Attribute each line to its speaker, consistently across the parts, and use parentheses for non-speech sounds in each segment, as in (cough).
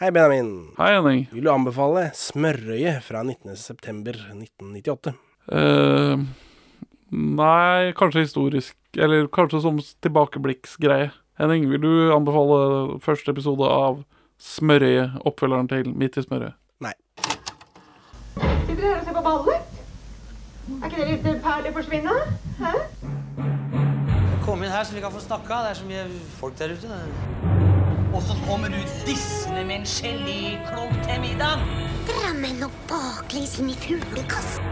Speaker 1: Hei, Benjamin.
Speaker 2: Hei, Henning.
Speaker 1: Vil du anbefale Smørøye fra 19.9.1998?
Speaker 2: Eh, nei, kanskje historisk Eller kanskje som tilbakeblikksgreie. Henning, vil du anbefale første episode av Smørøye, oppfølgeren til Midt i smørøyet?
Speaker 1: Nei.
Speaker 3: Sitter dere her og ser på ballet? Er ikke det litt perler forsvinne? Hæ?
Speaker 4: Kom inn her så vi kan få snakka. Det er så mye folk der ute.
Speaker 5: Og så kommer du dissende med en geléklump til middag.
Speaker 6: Dra meg nå baklengs inn i fuglekassen.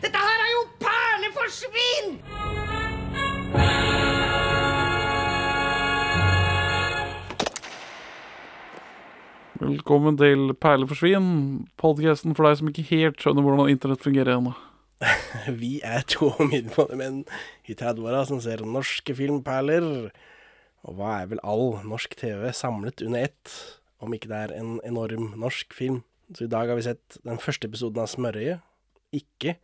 Speaker 5: Dette her er jo perleforsvinn!
Speaker 2: Velkommen til Perle for svin, podkasten for deg som ikke helt skjønner hvordan internett fungerer ennå.
Speaker 1: Vi er to (laughs) middelmådige menn i 30-åra som ser norske filmperler. Og hva er vel all norsk TV samlet under ett, om ikke det er en enorm norsk film? Så i dag har vi sett den første episoden av Smørøyet. Ikke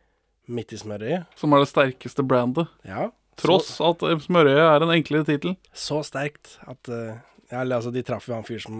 Speaker 1: Midt i smørøyet.
Speaker 2: Som er det sterkeste brandet.
Speaker 1: Ja.
Speaker 2: Tross at Smørøye er en enklere tittel.
Speaker 1: så sterkt at eh, ja, eller, altså, De traff jo han fyren som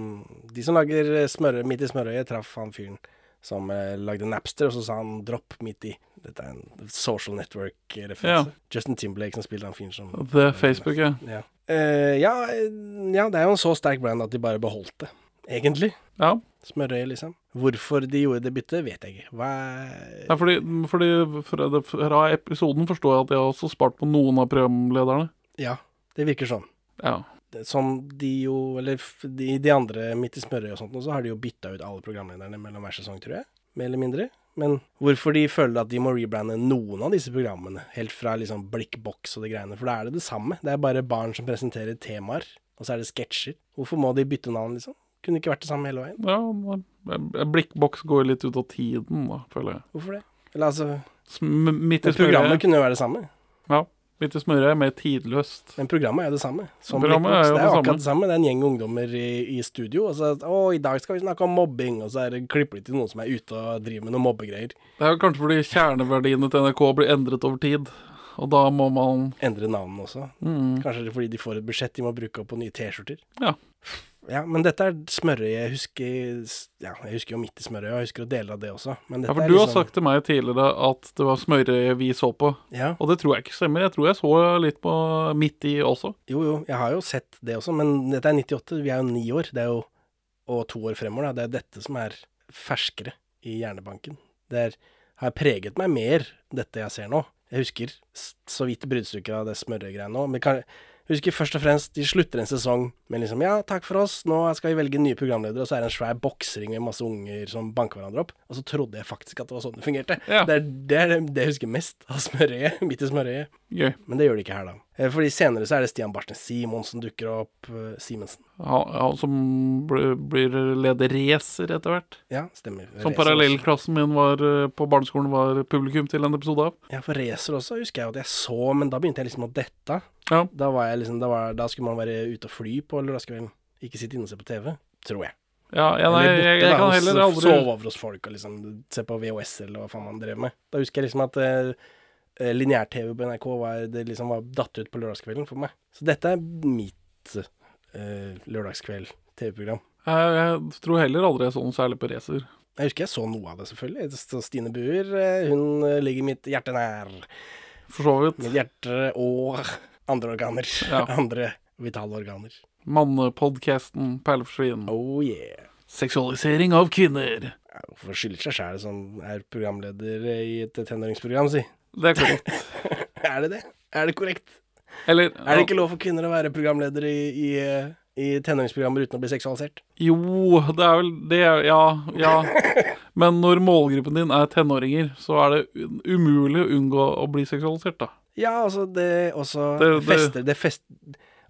Speaker 1: De som lager eh, smørø, midt i smørøyet, traff han fyren som eh, lagde Napster, og så sa han 'dropp midt i'. Dette er en social network-referanse. Justin Timberlake som spilte han fyren som
Speaker 2: Det er Facebook, ja.
Speaker 1: ja. Eh, ja, eh, ja, det er jo en så sterk brand at de bare beholdt det, egentlig.
Speaker 2: ja.
Speaker 1: Smørøyet, liksom. Hvorfor de gjorde det byttet, vet jeg ikke. Hva er
Speaker 2: Nei, fordi, fordi fra, det- fra episoden forstår jeg at de har også spart på noen av programlederne.
Speaker 1: Ja, det virker sånn.
Speaker 2: Ja.
Speaker 1: Det- Som de jo Eller f- de, de andre midt i smørøyet og sånt, nå, så har de jo bytta ut alle programlederne mellom hver sesong, tror jeg. Mer eller mindre. Men hvorfor de føler at de må rebrande noen av disse programmene, helt fra liksom blikkboks og de greiene, for da er det det samme. Det er bare barn som presenterer temaer, og så er det sketsjer. Hvorfor må de bytte navn, liksom? Kunne ikke vært det samme hele veien.
Speaker 2: ja men blikkboks går litt ut av tiden, da, føler jeg.
Speaker 1: Hvorfor det? Eller altså
Speaker 2: Sm midt i
Speaker 1: men Programmet
Speaker 2: smørøyet
Speaker 1: kunne jo være det samme.
Speaker 2: ja, midt i smørøyet er mer tidløst.
Speaker 1: Men programmet er jo det samme. Som
Speaker 2: Programmet er
Speaker 1: Blikkboks.
Speaker 2: jo
Speaker 1: det er jo
Speaker 2: det
Speaker 1: akkurat det samme. Det er en gjeng ungdommer i, i studio, og så Å, i dag skal vi snakke om mobbing, og så er det klipper de til noen som er ute og driver med noen mobbegreier.
Speaker 2: Det er jo kanskje fordi kjerneverdiene til NRK blir endret over tid. Og da må man
Speaker 1: Endre navnene også.
Speaker 2: mm,
Speaker 1: Kanskje det er fordi de får et budsjett de må bruke opp på nye T-skjorter.
Speaker 2: Ja.
Speaker 1: Ja, men dette er smørøyet. Jeg husker Ja, jeg husker jo midt i smørøyet, og jeg husker å dele av det også, men dette
Speaker 2: Ja, for
Speaker 1: er
Speaker 2: du har
Speaker 1: liksom-
Speaker 2: sagt til meg tidligere at det var smørøyet vi så på.
Speaker 1: Ja.
Speaker 2: Og det tror jeg ikke stemmer. Jeg tror jeg så litt på midt i også.
Speaker 1: Jo, jo, jeg har jo sett det også, men dette er 98, vi er jo ni år, det er jo, og to år fremover, da. Det er jo dette som er ferskere i hjernebanken. Det er, har preget meg mer, dette jeg ser nå. Jeg husker s- så vidt bruddstykker av det smørøyegreiene nå, men kan, jeg husker først og fremst, de slutter en sesong med liksom, ja, takk for oss, nå skal vi velge nye programledere, og så er det en svær boksering med masse unger som banker hverandre opp, og så trodde jeg faktisk at det var sånn det fungerte.
Speaker 2: Ja.
Speaker 1: Det, er, det er det jeg husker mest av (laughs) smørøyet, midt i smørøyet.
Speaker 2: Gøy.
Speaker 1: Men det gjør det ikke her, da. Eh, Fordi senere så er det Stian Barsnes Simonsen dukker opp. eh, Simensen.
Speaker 2: Han, han som ble, blir leder racer etter hvert.
Speaker 1: Ja, stemmer.
Speaker 2: Som
Speaker 1: Racer også.
Speaker 2: parallellklassen min var eh, på barneskolen var publikum til en episode av.
Speaker 1: Ja, for Racer også husker jeg at jeg så, men da begynte jeg liksom å dette.
Speaker 2: Ja.
Speaker 1: Da, var jeg liksom, da, var, da skulle man være ute og fly på lørdagskvelden. Ikke sitte inne og se på TV, tror jeg.
Speaker 2: Ja, ja nei,
Speaker 1: Eller
Speaker 2: jeg,
Speaker 1: borte,
Speaker 2: jeg,
Speaker 1: da,
Speaker 2: kan
Speaker 1: og
Speaker 2: heller
Speaker 1: s-
Speaker 2: aldri
Speaker 1: Sove over hos folk og liksom se på VHS eller hva faen man drev med. Da husker jeg liksom at eh, eh, lineær-TV på NRK var, det liksom var datt ut på lørdagskvelden for meg. Så dette er mitt eh, lørdagskveld-TV-program.
Speaker 2: jeg, Eh, jeg tror heller aldri jeg så noe særlig på racer.
Speaker 1: Jeg husker jeg så noe av det, selvfølgelig. Det står Stine Buer, eh, hun eh, ligger mitt hjerte nær.
Speaker 2: For så vidt.
Speaker 1: Mitt hjerte og andre organer.
Speaker 2: Ja.
Speaker 1: (laughs) Andre vitale organer.
Speaker 2: Mannepodkasten Perleforsvin.
Speaker 1: Oh yeah.
Speaker 2: Seksualisering av kvinner.
Speaker 1: Ja, Hvorfor skylder seg sjæl som er programleder i et tenåringsprogram, si? (laughs)
Speaker 2: Det er korrekt.
Speaker 1: er det det? Er det korrekt?
Speaker 2: Eller
Speaker 1: Er det ikke lov for kvinner å være programledere i, i, eh, i tenåringsprogrammer uten å bli seksualisert?
Speaker 2: Jo, det er vel det er, Ja, ja. Men når målgruppen din er tenåringer, så er det u- umulig å unngå å bli seksualisert, da.
Speaker 1: Ja, altså, det også
Speaker 2: Det- det-
Speaker 1: fester Det fest...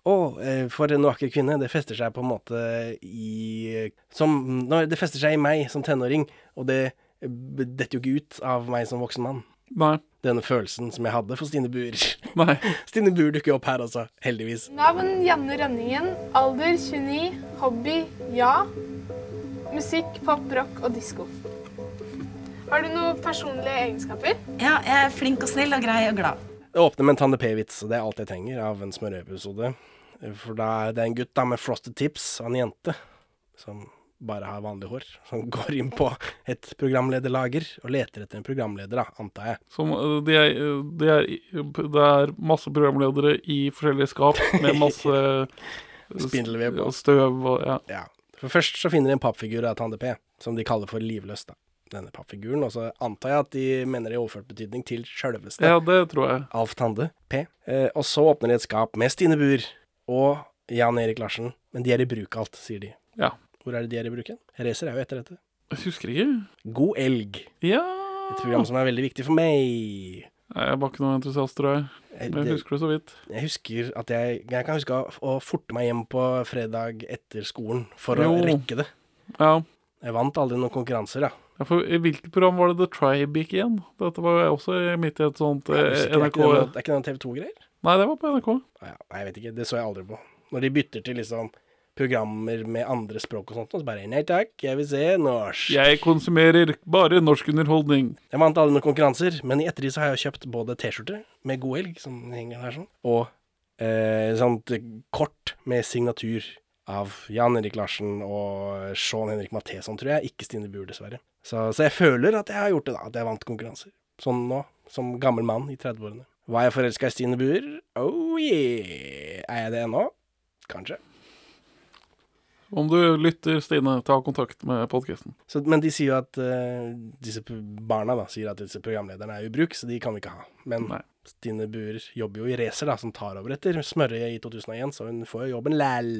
Speaker 1: Å, eh, for en vakker kvinne. Det fester seg på en måte i Som når Det fester seg i meg som tenåring, og det eh, detter jo ikke ut av meg som voksen mann.
Speaker 2: Nei.
Speaker 1: Denne følelsen som jeg hadde for Stine Buer. (laughs)
Speaker 2: Nei.
Speaker 1: Stine Buer dukker opp her, altså. Heldigvis.
Speaker 7: Navn Janne Rønningen. Alder 29. Hobby ja. Musikk, pop, rock og disko. Har du noen personlige egenskaper?
Speaker 8: Ja, jeg er flink og snill og grei og glad.
Speaker 1: Det åpner med en Tande P-vits, og det er alt jeg trenger av en smørøyeepisode. For da er det en gutt da med frosted tips av en jente som bare har vanlig hår, som (laughs) går inn på et programlederlager og leter etter en programleder, da, antar jeg.
Speaker 2: Som, eh, de er, eh, de er, i- det er masse programledere i forskjellige skap med masse
Speaker 1: (laughs) Spindelvev
Speaker 2: og
Speaker 1: og
Speaker 2: støv og ja.
Speaker 1: Ja. For først så finner de en pappfigur av Tande P, som de kaller for Livløs, da. Denne pappfiguren. Og så antar jeg at de mener i overført betydning til sjølveste
Speaker 2: ja, det tror jeg.
Speaker 1: Alf Tande P. Eh, og så åpner de et skap med Stine Buer og Jan Erik Larsen. Men de er i bruk alt, sier de.
Speaker 2: Ja.
Speaker 1: Hvor er det de er i bruk hen? Racer er jo etter dette.
Speaker 2: Jeg husker ikke.
Speaker 1: God elg.
Speaker 2: Ja
Speaker 1: Et program som er veldig viktig for meg.
Speaker 2: Nei, Jeg var ikke noen entusiast, tror jeg.
Speaker 1: Eh,
Speaker 2: Men
Speaker 1: det-
Speaker 2: jeg husker det så vidt.
Speaker 1: Jeg husker at jeg, jeg kan huske å, å forte meg hjem på fredag etter skolen for å
Speaker 2: Jo.
Speaker 1: rekke det.
Speaker 2: Ja.
Speaker 1: Jeg vant aldri noen konkurranser, da.
Speaker 2: Ja, for I hvilket program var det The Tribe gikk igjen? Dette var jo også midt i et sånt
Speaker 1: Jeg
Speaker 2: eh,
Speaker 1: husker, er
Speaker 2: NRK
Speaker 1: ikke det noe- er ikke det noen TV 2-greier?
Speaker 2: Nei, det var på NRK.
Speaker 1: Ja, nei, jeg vet ikke. Det så jeg aldri på. Når de bytter til liksom programmer med andre språk og sånt, og så bare Nei takk, jeg vil se norsk.
Speaker 2: Jeg konsumerer bare norsk underholdning.
Speaker 1: Jeg vant alle noen konkurranser, men i ettertid så har jeg kjøpt både T-skjorte med god elg, som henger her sånn, og eh, sånt kort med signatur av Jan Erik Larsen og Sean Henrik Matheson, tror jeg. Ikke Stine Buer, dessverre. Så, så jeg føler at jeg har gjort det, da. At jeg vant konkurranser. Sånn nå, som gammel mann i 30-årene. Var jeg forelska i Stine Buer? Oh yeah! Er jeg det ennå? Kanskje.
Speaker 2: Om du lytter, Stine, ta kontakt med podkasten.
Speaker 1: Så, men de sier jo at eh, disse p- barna da, sier at disse programlederne er i bruk, så de kan vi ikke ha. Men
Speaker 2: Nei.
Speaker 1: Stine Buer jobber jo i Racer, da, som tar over etter Smørøye i 2001, så hun får jo jobben læll.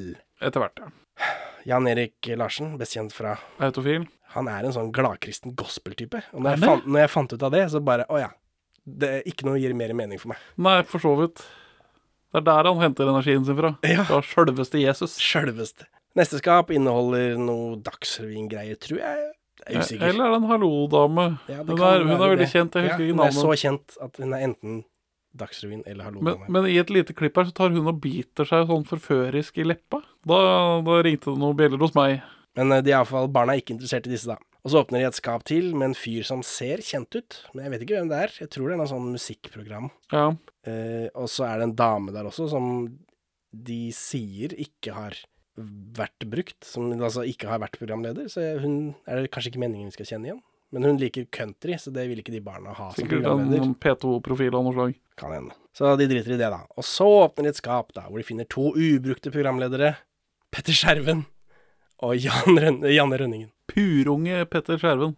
Speaker 2: Etter hvert, ja.
Speaker 1: Jan Erik Larsen, best kjent fra
Speaker 2: Autofil.
Speaker 1: Han er en sånn gladkristen gospel-type. Og når
Speaker 2: Er
Speaker 1: jeg,
Speaker 2: det?
Speaker 1: fant, når jeg fant ut av det, så bare Å ja. Det er ikke noe gir mer mening for meg.
Speaker 2: Nei, for så vidt. Det er der han henter energien sin fra.
Speaker 1: Ja.
Speaker 2: Fra sjølveste Jesus.
Speaker 1: Sjølveste. Neste skap inneholder noe Dagsrevyen-greier, tror jeg. Jeg er usikker.
Speaker 2: Eller er det en hallo-dame?
Speaker 1: Ja, det
Speaker 2: Hun,
Speaker 1: kan
Speaker 2: er- hun
Speaker 1: være
Speaker 2: er veldig
Speaker 1: det.
Speaker 2: kjent, jeg
Speaker 1: Ja,
Speaker 2: husker ikke
Speaker 1: Hun er så
Speaker 2: navnet.
Speaker 1: kjent at hun er enten Dagsrevyen eller Hallo,
Speaker 2: Men,
Speaker 1: dame.
Speaker 2: men i et lite klipp her så tar hun og biter seg sånn forførisk i leppa. Da, da ringte det noen bjeller hos meg.
Speaker 1: Men eh, det er iallfall barna er ikke interessert i disse, da. Og så åpner de et skap til med en fyr som ser kjent ut, men jeg vet ikke hvem det er. Jeg tror det er noe sånn musikkprogram.
Speaker 2: Ja.
Speaker 1: Eh, og så er det en dame der også som de sier ikke har vært brukt, som altså ikke har vært programleder, så hun er det kanskje ikke meningen vi skal kjenne igjen. Men hun liker country, så det vil ikke de barna ha som
Speaker 2: Sikkert
Speaker 1: programleder.
Speaker 2: en P2-profil av noe slag.
Speaker 1: Kan hende. Så de driter i det, da. Og så åpner de et skap, da, hvor de finner to ubrukte programledere. Petter Skjerven og Jan Røn Janne Rønningen.
Speaker 2: Purunge Petter Skjerven.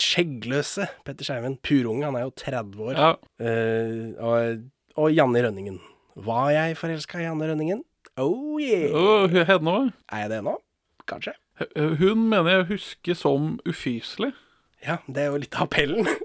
Speaker 1: Skjeggløse Petter Skjerven. Purunge, han er jo 30 år.
Speaker 2: Ja,
Speaker 1: Eh, og, og Janne Rønningen. Var jeg forelska i Janne Rønningen? Oh yeah!
Speaker 2: og hu- henne òg.
Speaker 1: Er jeg det nå? Kanskje.
Speaker 2: Hun mener jeg husker som ufyselig.
Speaker 1: Ja, det er jo litt av appellen. (laughs)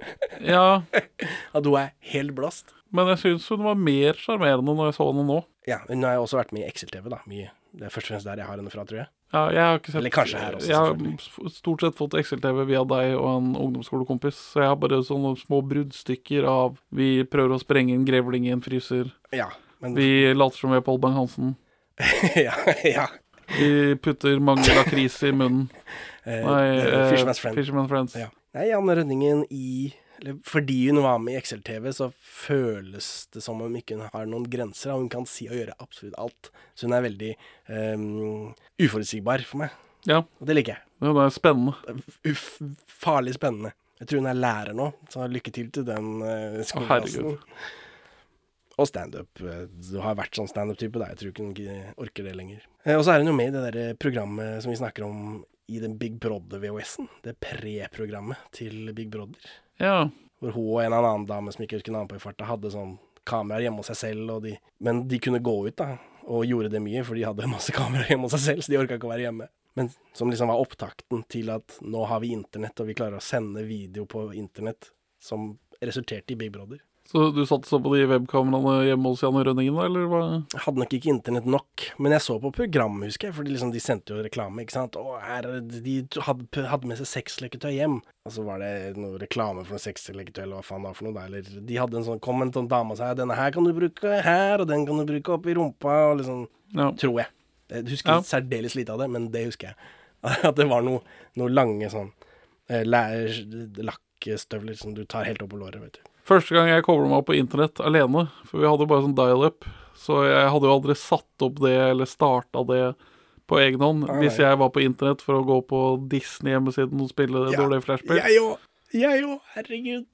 Speaker 2: Ja,
Speaker 1: At hun er helt blåst.
Speaker 2: men jeg syns hun var mer sjarmerende når jeg så henne nå.
Speaker 1: Ja, hun har jo også vært med i XL-TV, da. Mye. Det er først og fremst der jeg har henne fra, tror jeg.
Speaker 2: Ja, jeg har ikke sett
Speaker 1: Eller kanskje her også,
Speaker 2: Jeg
Speaker 1: selvfølgelig.
Speaker 2: har stort sett fått XLTV via deg og en ungdomsskolekompis, så jeg har bare sånne små bruddstykker av Vi prøver å sprenge en grevling i en fryser.
Speaker 1: Ja, men
Speaker 2: Vi later som vi er Pål Bang-Hansen.
Speaker 1: (laughs) ja, ja.
Speaker 2: Vi putter mange lakris i munnen.
Speaker 1: (laughs) Eh,
Speaker 2: Nei,
Speaker 1: eh,
Speaker 2: eh,
Speaker 1: Fisherman's Friend.
Speaker 2: Fisherman's Friends.
Speaker 1: Ja. Nei, Janne Rønningen i eller fordi hun var med i XL-TV, så føles det som om ikke hun har noen grenser. og Hun kan si og gjøre absolutt alt. Så hun er veldig ehm, uforutsigbar for meg.
Speaker 2: Ja.
Speaker 1: Og det liker jeg.
Speaker 2: Hun er spennende.
Speaker 1: Uff, farlig spennende. Jeg tror hun er lærer nå, så lykke til til den uh, skoleklassen.
Speaker 2: herregud.
Speaker 1: Og standup. eh, Du har vært sånn standup-type, da. Jeg tror ikke hun g- orker det lenger. Eh, Og så er hun jo med i det der programmet som vi snakker om i den Big Brother-VHS-en. Det pre-programmet til Big Brother.
Speaker 2: Ja.
Speaker 1: Hvor hun og en eller annen dame som ikke husker navnet på i farta, hadde sånn kameraer hjemme hos seg selv, og de Men de kunne gå ut, da, og gjorde det mye, for de hadde (laughs) masse kameraer hjemme hos seg selv, så de orka ikke å være hjemme. Men som liksom var opptakten til at nå har vi internett, og vi klarer å sende video på internett, som resulterte i Big Brother.
Speaker 2: Så du satt så på de webkameraene hjemme hos Janne Rønningen, da, eller hva?
Speaker 1: Jeg hadde nok ikke internett nok, men jeg så på program, husker jeg, for liksom, de sendte jo reklame, ikke sant. Å, her, er det- de hadde, hadde med seg sexleketøy hjem, og så var det noe reklame for noe sexleketøy, eller hva faen det var for noe, da, eller de hadde en sånn, kom en sånn dame og sa, denne her kan du bruke her, og den kan du bruke opp i rumpa, og liksom,
Speaker 2: Ja.
Speaker 1: tror jeg. Jeg husker
Speaker 2: Ja.
Speaker 1: særdeles lite av det, men det husker jeg. (laughs) At det var noe, noe lange sånn, eh, læ- lakkstøvler som du tar helt opp på låret, vet du.
Speaker 2: Første gang jeg koblet meg opp på internett alene, for vi hadde bare sånn dial-up, så jeg hadde jo aldri satt opp det eller starta det på egen hånd
Speaker 1: Alright.
Speaker 2: hvis jeg var på internett for å gå på Disney-hjemmesiden og spille
Speaker 1: Ja.
Speaker 2: dårlige flashback.
Speaker 1: Jeg òg! Jeg òg! Herregud.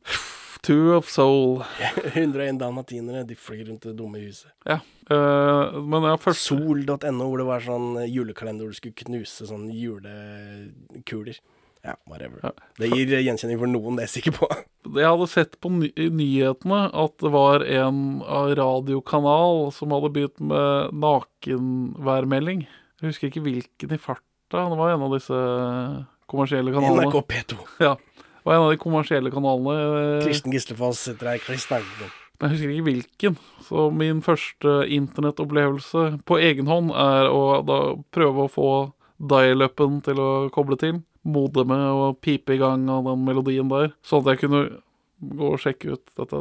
Speaker 2: Two of Soul.
Speaker 1: (laughs) 101 dalmatinere, de flyr rundt det dumme huset.
Speaker 2: Ja. Eh, men ja, først
Speaker 1: Sol.no, hvor det var sånn eh, julekalender hvor du skulle knuse sånn julekuler. Ja, whatever.
Speaker 2: Ja.
Speaker 1: Det gir eh, gjenkjenning for noen, det er jeg sikker på.
Speaker 2: Jeg hadde sett på ny i nyhetene at det var en av radiokanal som hadde begynt med nakenværmelding. Jeg husker ikke hvilken i farta. Det var en av disse kommersielle kanalene.
Speaker 1: NRK P2.
Speaker 2: Ja. Det var en av de kommersielle kanalene. eh,
Speaker 1: Kristen Gislefoss sitter her. Chris Nagel.
Speaker 2: Men jeg husker ikke hvilken. Så min første internettopplevelse på egen hånd er å da prøve å få dial-upen til å koble til. Modemet og pipe i gang av den melodien der. Sånn at jeg kunne gå og sjekke ut dette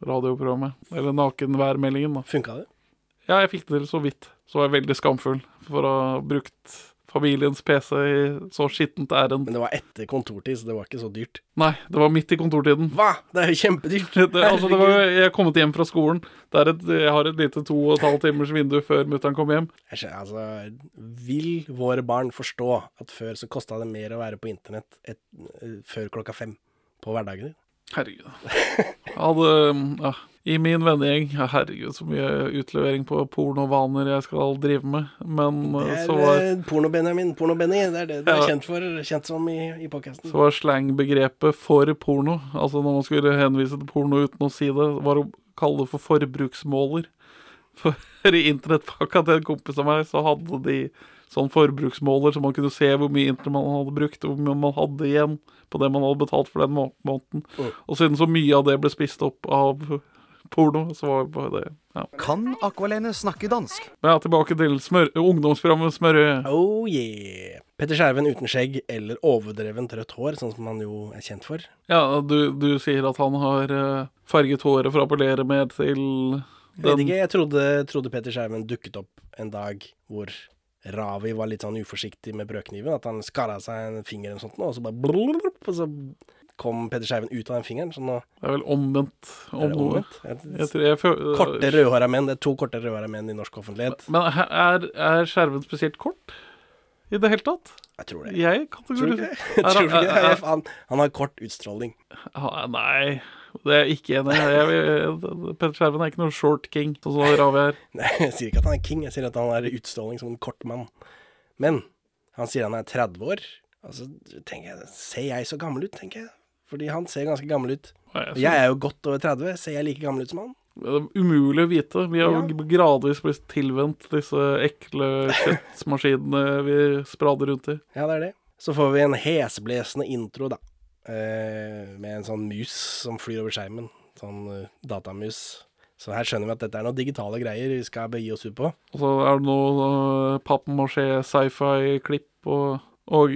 Speaker 2: nakenradioprogrammet. Eller nakenværmeldingen, da.
Speaker 1: Funka det?
Speaker 2: Ja, jeg fikk det til så vidt. Så var jeg veldig skamfull for å ha brukt familiens PC i så skittent ærend.
Speaker 1: Men det var etter kontortid, så det var ikke så dyrt.
Speaker 2: Nei, det var midt i kontortiden.
Speaker 1: Hva?! Det er jo kjempedyrt!
Speaker 2: Det, altså, det var,
Speaker 1: Herregud.
Speaker 2: jeg er kommet hjem fra skolen. Det er et, jeg har et lite to og et halvt timers vindu før mutter'n kommer hjem.
Speaker 1: Jeg skjønner, altså, vil våre barn forstå at før så kosta det mer å være på internett et, eh, før klokka fem på hverdagene?
Speaker 2: Herregud. Jeg hadde, mm, ja, I min vennegjeng ja, Herregud, så mye utlevering på pornovaner jeg skal drive med. Men
Speaker 1: Det
Speaker 2: eh,
Speaker 1: er
Speaker 2: så var,
Speaker 1: eh, porno-Benjamin, porno-Benny. Det er det du
Speaker 2: Ja.
Speaker 1: er kjent for, kjent som i, i podkasten.
Speaker 2: så var slangbegrepet for porno, altså når man skulle henvise til porno uten å si det, var å kalle det for forbruksmåler. For i internettpakka til en kompis av meg, så hadde de sånn forbruksmåler, så man kunne se hvor mye internett man hadde brukt, og hvor mye man hadde igjen på det man hadde betalt for den må måneden.
Speaker 1: Mm.
Speaker 2: Og siden så mye av det ble spist opp av porno, så var det bare det. Ja.
Speaker 9: Kan Aqualene snakke dansk?
Speaker 2: Men ja, tilbake til smør ungdomsprogrammet Smørø.
Speaker 1: Oh yeah. Petter Skjerven uten skjegg eller overdrevent rødt hår, sånn som han jo er kjent for.
Speaker 2: Ja, du, du sier at han har eh, farget håret fra å polere mer til
Speaker 1: Jeg vet
Speaker 2: den
Speaker 1: ikke, jeg trodde, trodde Petter Skjerven dukket opp en dag hvor Ravi var litt sånn uforsiktig med brødkniven, at han skara seg en finger eller noe sånt, nå, og så bare blululup, og så kom Petter Skjerven ut av den fingeren, så nå
Speaker 2: Det er vel omvendt om
Speaker 1: er det
Speaker 2: noe.
Speaker 1: omvendt. Jeg-
Speaker 2: Jeg tror jeg fø- øh,
Speaker 1: Korte rødhåra menn, det er to korte rødhåra menn i norsk offentlighet.
Speaker 2: Men he- er, er skjerven spesielt kort? I det hele tatt?
Speaker 1: Jeg tror det.
Speaker 2: Jeg
Speaker 1: Tror
Speaker 2: (laughs)
Speaker 1: du ikke?
Speaker 2: kategoriserer
Speaker 1: Tror du ikke?
Speaker 2: Er- er- er-
Speaker 1: Han, han har kort utstråling.
Speaker 2: Ah, Nei, det er jeg ikke enig i. Jeg- jeg- Petter Skjerven er ikke noe short king, sånn som Ravi er.
Speaker 1: Nei, jeg sier ikke at han er king, jeg sier at han har utstråling som en kort mann. Men han sier han er 30 år. Altså, tenker jeg, Ser jeg så gammel ut, tenker jeg. Fordi han ser ganske gammel ut.
Speaker 2: Og
Speaker 1: Og
Speaker 2: jeg-
Speaker 1: jeg er jo godt over 30, ser jeg like gammel ut som han?
Speaker 2: Det er umulig å vite. Vi har jo
Speaker 1: Ja.
Speaker 2: g- gradvis blitt tilvendt
Speaker 1: (laughs)
Speaker 2: disse ekle kjøttmaskinene vi sprader rundt i.
Speaker 1: Ja, det er det. Så får vi en heseblesende intro, da. Eh, med en sånn mus som flyr over skjermen. Sånn eh, datamus. Så her skjønner vi at dette er noen digitale greier vi skal begi oss ut på.
Speaker 2: Og så er det noe eh, pappmasjé, sci-fi-klipp og, og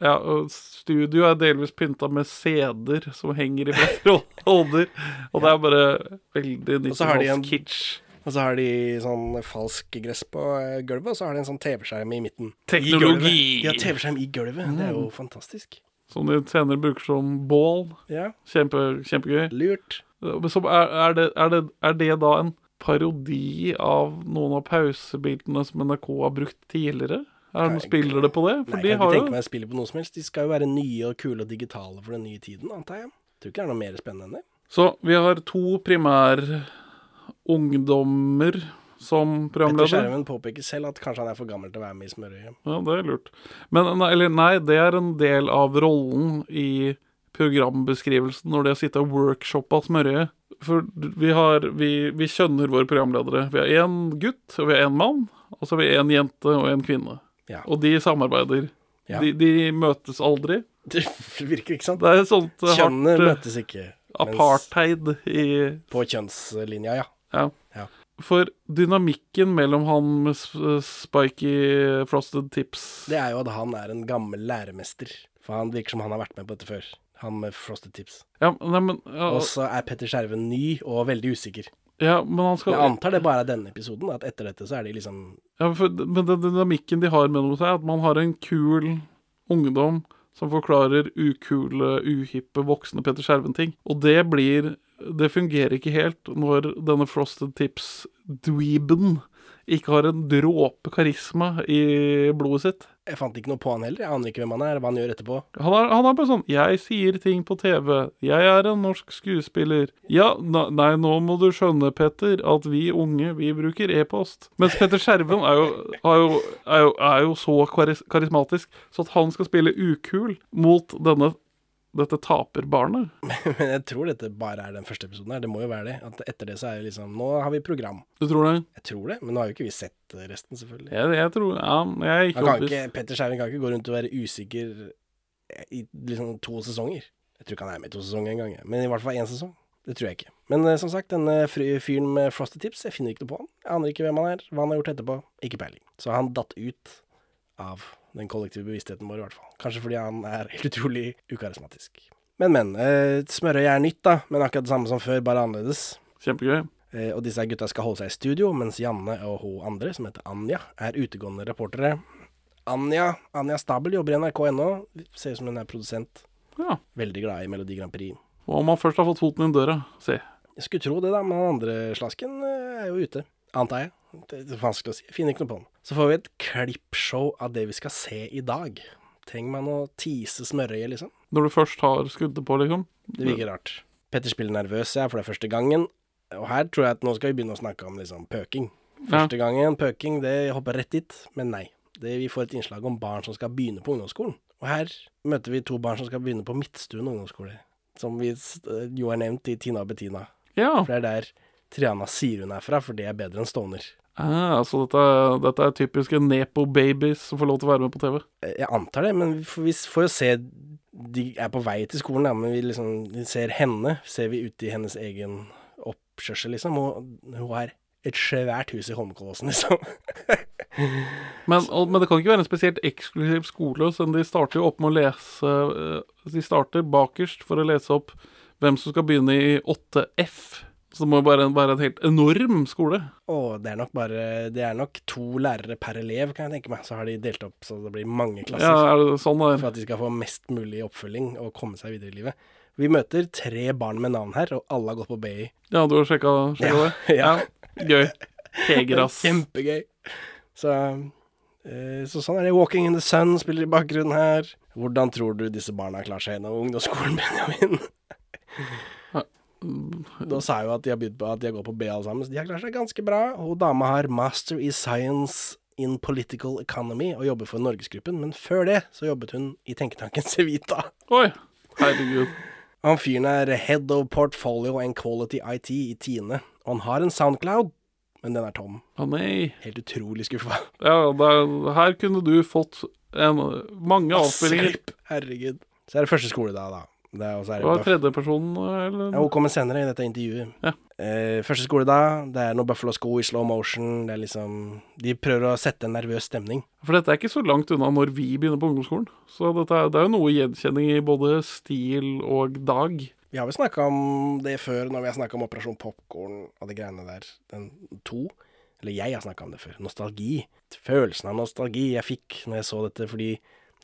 Speaker 2: ja, og studio er delvis pynta med CD-er som henger i
Speaker 1: (laughs)
Speaker 2: flere holder. Og det er bare veldig
Speaker 1: Og så har de en-
Speaker 2: 90-tallskitsch.
Speaker 1: Og så har de sånn falsk gress på eh, gulvet, og så har de en sånn TV-skjerm i midten.
Speaker 2: Teknologi.
Speaker 1: I gulvet. Ja, TV-skjerm i gulvet. Det er
Speaker 2: Mm.
Speaker 1: jo fantastisk.
Speaker 2: Som de senere bruker som bål.
Speaker 1: Ja,
Speaker 2: Kjempe, kjempegøy.
Speaker 1: lurt.
Speaker 2: Men så er, er, det, er, det, er det da en parodi av noen av pausebildene som NRK har brukt tidligere? Er det,
Speaker 1: Nei,
Speaker 2: spiller det på det? For
Speaker 1: Nei,
Speaker 2: de
Speaker 1: jeg kan
Speaker 2: har
Speaker 1: ikke
Speaker 2: jo
Speaker 1: tenke meg å spille på noe som helst. De skal jo være nye og kule og digitale for den nye tiden, antar jeg. Tror ikke det er noe mer spennende enn det.
Speaker 2: Så vi har to primære ungdommer som
Speaker 1: Petter
Speaker 2: programleder.
Speaker 1: Skjermen påpeker selv at kanskje han er for gammel til å være med i Smørøyet. (laughs)
Speaker 2: Ja, det er lurt. Men nei, eller nei, det er en del av rollen i programbeskrivelsen når de har sittet og workshoppa smørøyet. For vi har Vi, vi kjønner våre programledere. Vi har én gutt, og vi har én mann. Og så har vi én jente og én kvinne.
Speaker 1: Ja.
Speaker 2: Og de samarbeider.
Speaker 1: Ja.
Speaker 2: De, de møtes aldri.
Speaker 1: Det virker ikke sant?
Speaker 2: Det er et sånt eh,
Speaker 1: Kjønnene
Speaker 2: hardt eh,
Speaker 1: møtes ikke. mens-
Speaker 2: apartheid i
Speaker 1: På kjønnslinja, ja.
Speaker 2: Ja.
Speaker 1: Ja.
Speaker 2: For dynamikken mellom han med s- spiky frosted tips
Speaker 1: Det er jo at han er en gammel læremester. For han virker som han har vært med på dette før. Han med frosted tips.
Speaker 2: ja, nei, men, ja,
Speaker 1: Og så er Petter Skjerven ny og veldig usikker.
Speaker 2: ja, men han skal
Speaker 1: Jeg antar det bare er denne episoden, at etter dette så er de liksom
Speaker 2: ja, for, d- Men den dynamikken de har mellom seg, er at man har en kul ungdom som forklarer ukule, uhippe, voksne Petter Skjerven-ting. Og det blir Det fungerer ikke helt når denne frosted tips-dweeben ikke har en dråpe karisma i blodet sitt.
Speaker 1: Jeg fant ikke noe på han heller. Jeg aner ikke hvem han er, hva han gjør etterpå. (laughs)
Speaker 2: Han er, han er bare sånn 'Jeg sier ting på TV. Jeg er en norsk skuespiller.' Ja, na- nei, nå må du skjønne, Petter, at vi unge, vi bruker e-post. Mens Petter Skjerven er jo, er jo, er jo, er jo så karis karismatisk, så at han skal spille ukul mot denne, dette taperbarnet
Speaker 1: Men jeg tror dette bare er den første episoden her. Det må jo være det. At etter det så er det liksom Nå har vi program.
Speaker 2: Du tror det?
Speaker 1: Jeg tror det, men nå har jo ikke vi sett resten, selvfølgelig.
Speaker 2: Jeg, jeg tror Ja, jeg er ikke
Speaker 1: Han kan
Speaker 2: overbevist.
Speaker 1: ikke, Petter Skjerven kan ikke gå rundt og være usikker i liksom to sesonger. Jeg tror ikke han er med i to sesonger engang, jeg. men i hvert fall én sesong. Det tror jeg ikke. Men eh, som sagt, denne fry- fyren med frosty tips, jeg finner ikke noe på han. Jeg aner ikke hvem han er, hva han har gjort etterpå. Ikke peiling. Så han datt ut av den kollektive bevisstheten vår, i hvert fall. Kanskje fordi han er (laughs) helt utrolig ukarismatisk. Men, men. Eh, Smørøyet er nytt, da, men akkurat det samme som før, bare annerledes.
Speaker 2: Kjempegøy.
Speaker 1: Eh, Og disse gutta skal holde seg i studio, mens Janne og hun andre, som heter Anja, er utegående reportere. Anja Anja Stabel jobber i NRK ennå. Ser ut som hun er produsent.
Speaker 2: Ja.
Speaker 1: Veldig glad i Melodi Grand Prix.
Speaker 2: Og om han først har fått foten inn døra, se.
Speaker 1: Jeg skulle tro det, da, men han andre slasken eh, er jo ute. Antar jeg. Det er vanskelig å si. Finner ikke noe på den. Så får vi et klippshow av det vi skal se i dag. Trenger man å tease smørøyet, liksom?
Speaker 2: Når du først har skuddet på, liksom.
Speaker 1: Det virker rart. Petter spiller nervøs, jeg, for det er første gangen. Og her tror jeg at nå skal vi begynne å snakke om liksom pøking. Første gangen pøking, det jeg hopper rett dit, men nei. Det, vi får et innslag om barn som skal begynne på ungdomsskolen. Og her møter vi to barn som skal begynne på Midtstuen ungdomsskole, som vi s- eh, jo har nevnt i Tina og Bettina.
Speaker 2: Ja.
Speaker 1: For det er der Triana sier hun er fra, for det er bedre enn Stovner.
Speaker 2: Ah, så dette, dette er typiske Nepo-babies som får lov til å være med på TV.
Speaker 1: Eh, Jeg antar det, men vi får, vi s- får jo se De er på vei til skolen, da, men vi liksom vi ser henne. Ser vi ute i hennes egen oppkjørsel, liksom. Og hun har et svært hus i Holmenkollåsen, (laughs) liksom.
Speaker 2: Men, og, men det kan ikke være en spesielt eksklusiv skole, så de starter jo opp med å lese eh, De starter bakerst for å lese opp hvem som skal begynne i 8F. Så det må jo bare være en helt enorm skole.
Speaker 1: Og det er nok bare Det er nok to lærere per elev, kan jeg tenke meg. Så har de delt opp så det blir mange
Speaker 2: Ja,
Speaker 1: klasser.
Speaker 2: er det sånn
Speaker 1: For
Speaker 2: der?
Speaker 1: at de skal få mest mulig oppfølging og komme seg videre i livet. Vi møter tre barn med navn her, og alle har gått på BI.
Speaker 2: Ja, du har sjekka, sjekka det?
Speaker 1: ja.
Speaker 2: Gøy. Keger, ass.
Speaker 1: Kjempegøy. Så, eh, så sånn er det. Walking in the Sun spiller i bakgrunnen her. Hvordan tror du disse barna klarer seg gjennom ungdomsskolen, (laughs) Benjamin? Da sa jeg jo at de har begynt på at de har gått på B alle sammen, så de har klart seg ganske bra. Hun dama har master i science in political economy og jobber for Norgesgruppen, men før det så jobbet hun i tenketanken (laughs) Civita.
Speaker 2: Oi. Herregud.
Speaker 1: Han fyren er head of portfolio and quality IT i Tine, og han har en Soundcloud, men den er tom.
Speaker 2: Å nei.
Speaker 1: Helt utrolig skuffa.
Speaker 2: Ja, det er- her kunne du fått en, mange avspillinger.
Speaker 1: Hjelp, herregud. Så er det første skoledag, da. Det er, og så er
Speaker 2: Det
Speaker 1: det
Speaker 2: var
Speaker 1: buff-
Speaker 2: tredjepersonen, eller?
Speaker 1: ja, hun kommer senere i dette intervjuet.
Speaker 2: Ja.
Speaker 1: Eh, første skoledag, det er noen Buffalo-sko i slow motion. Det er liksom De prøver å sette en nervøs stemning.
Speaker 2: For dette er ikke så langt unna når vi begynner på ungdomsskolen. Så dette er, det er jo noe gjenkjenning i både stil og dag.
Speaker 1: Vi har vel snakka om det før, når vi har snakka om Operasjon Popkorn og de greiene der. Den to. Eller jeg har snakka om det før. Nostalgi. Følelsen av nostalgi jeg fikk når jeg så dette, fordi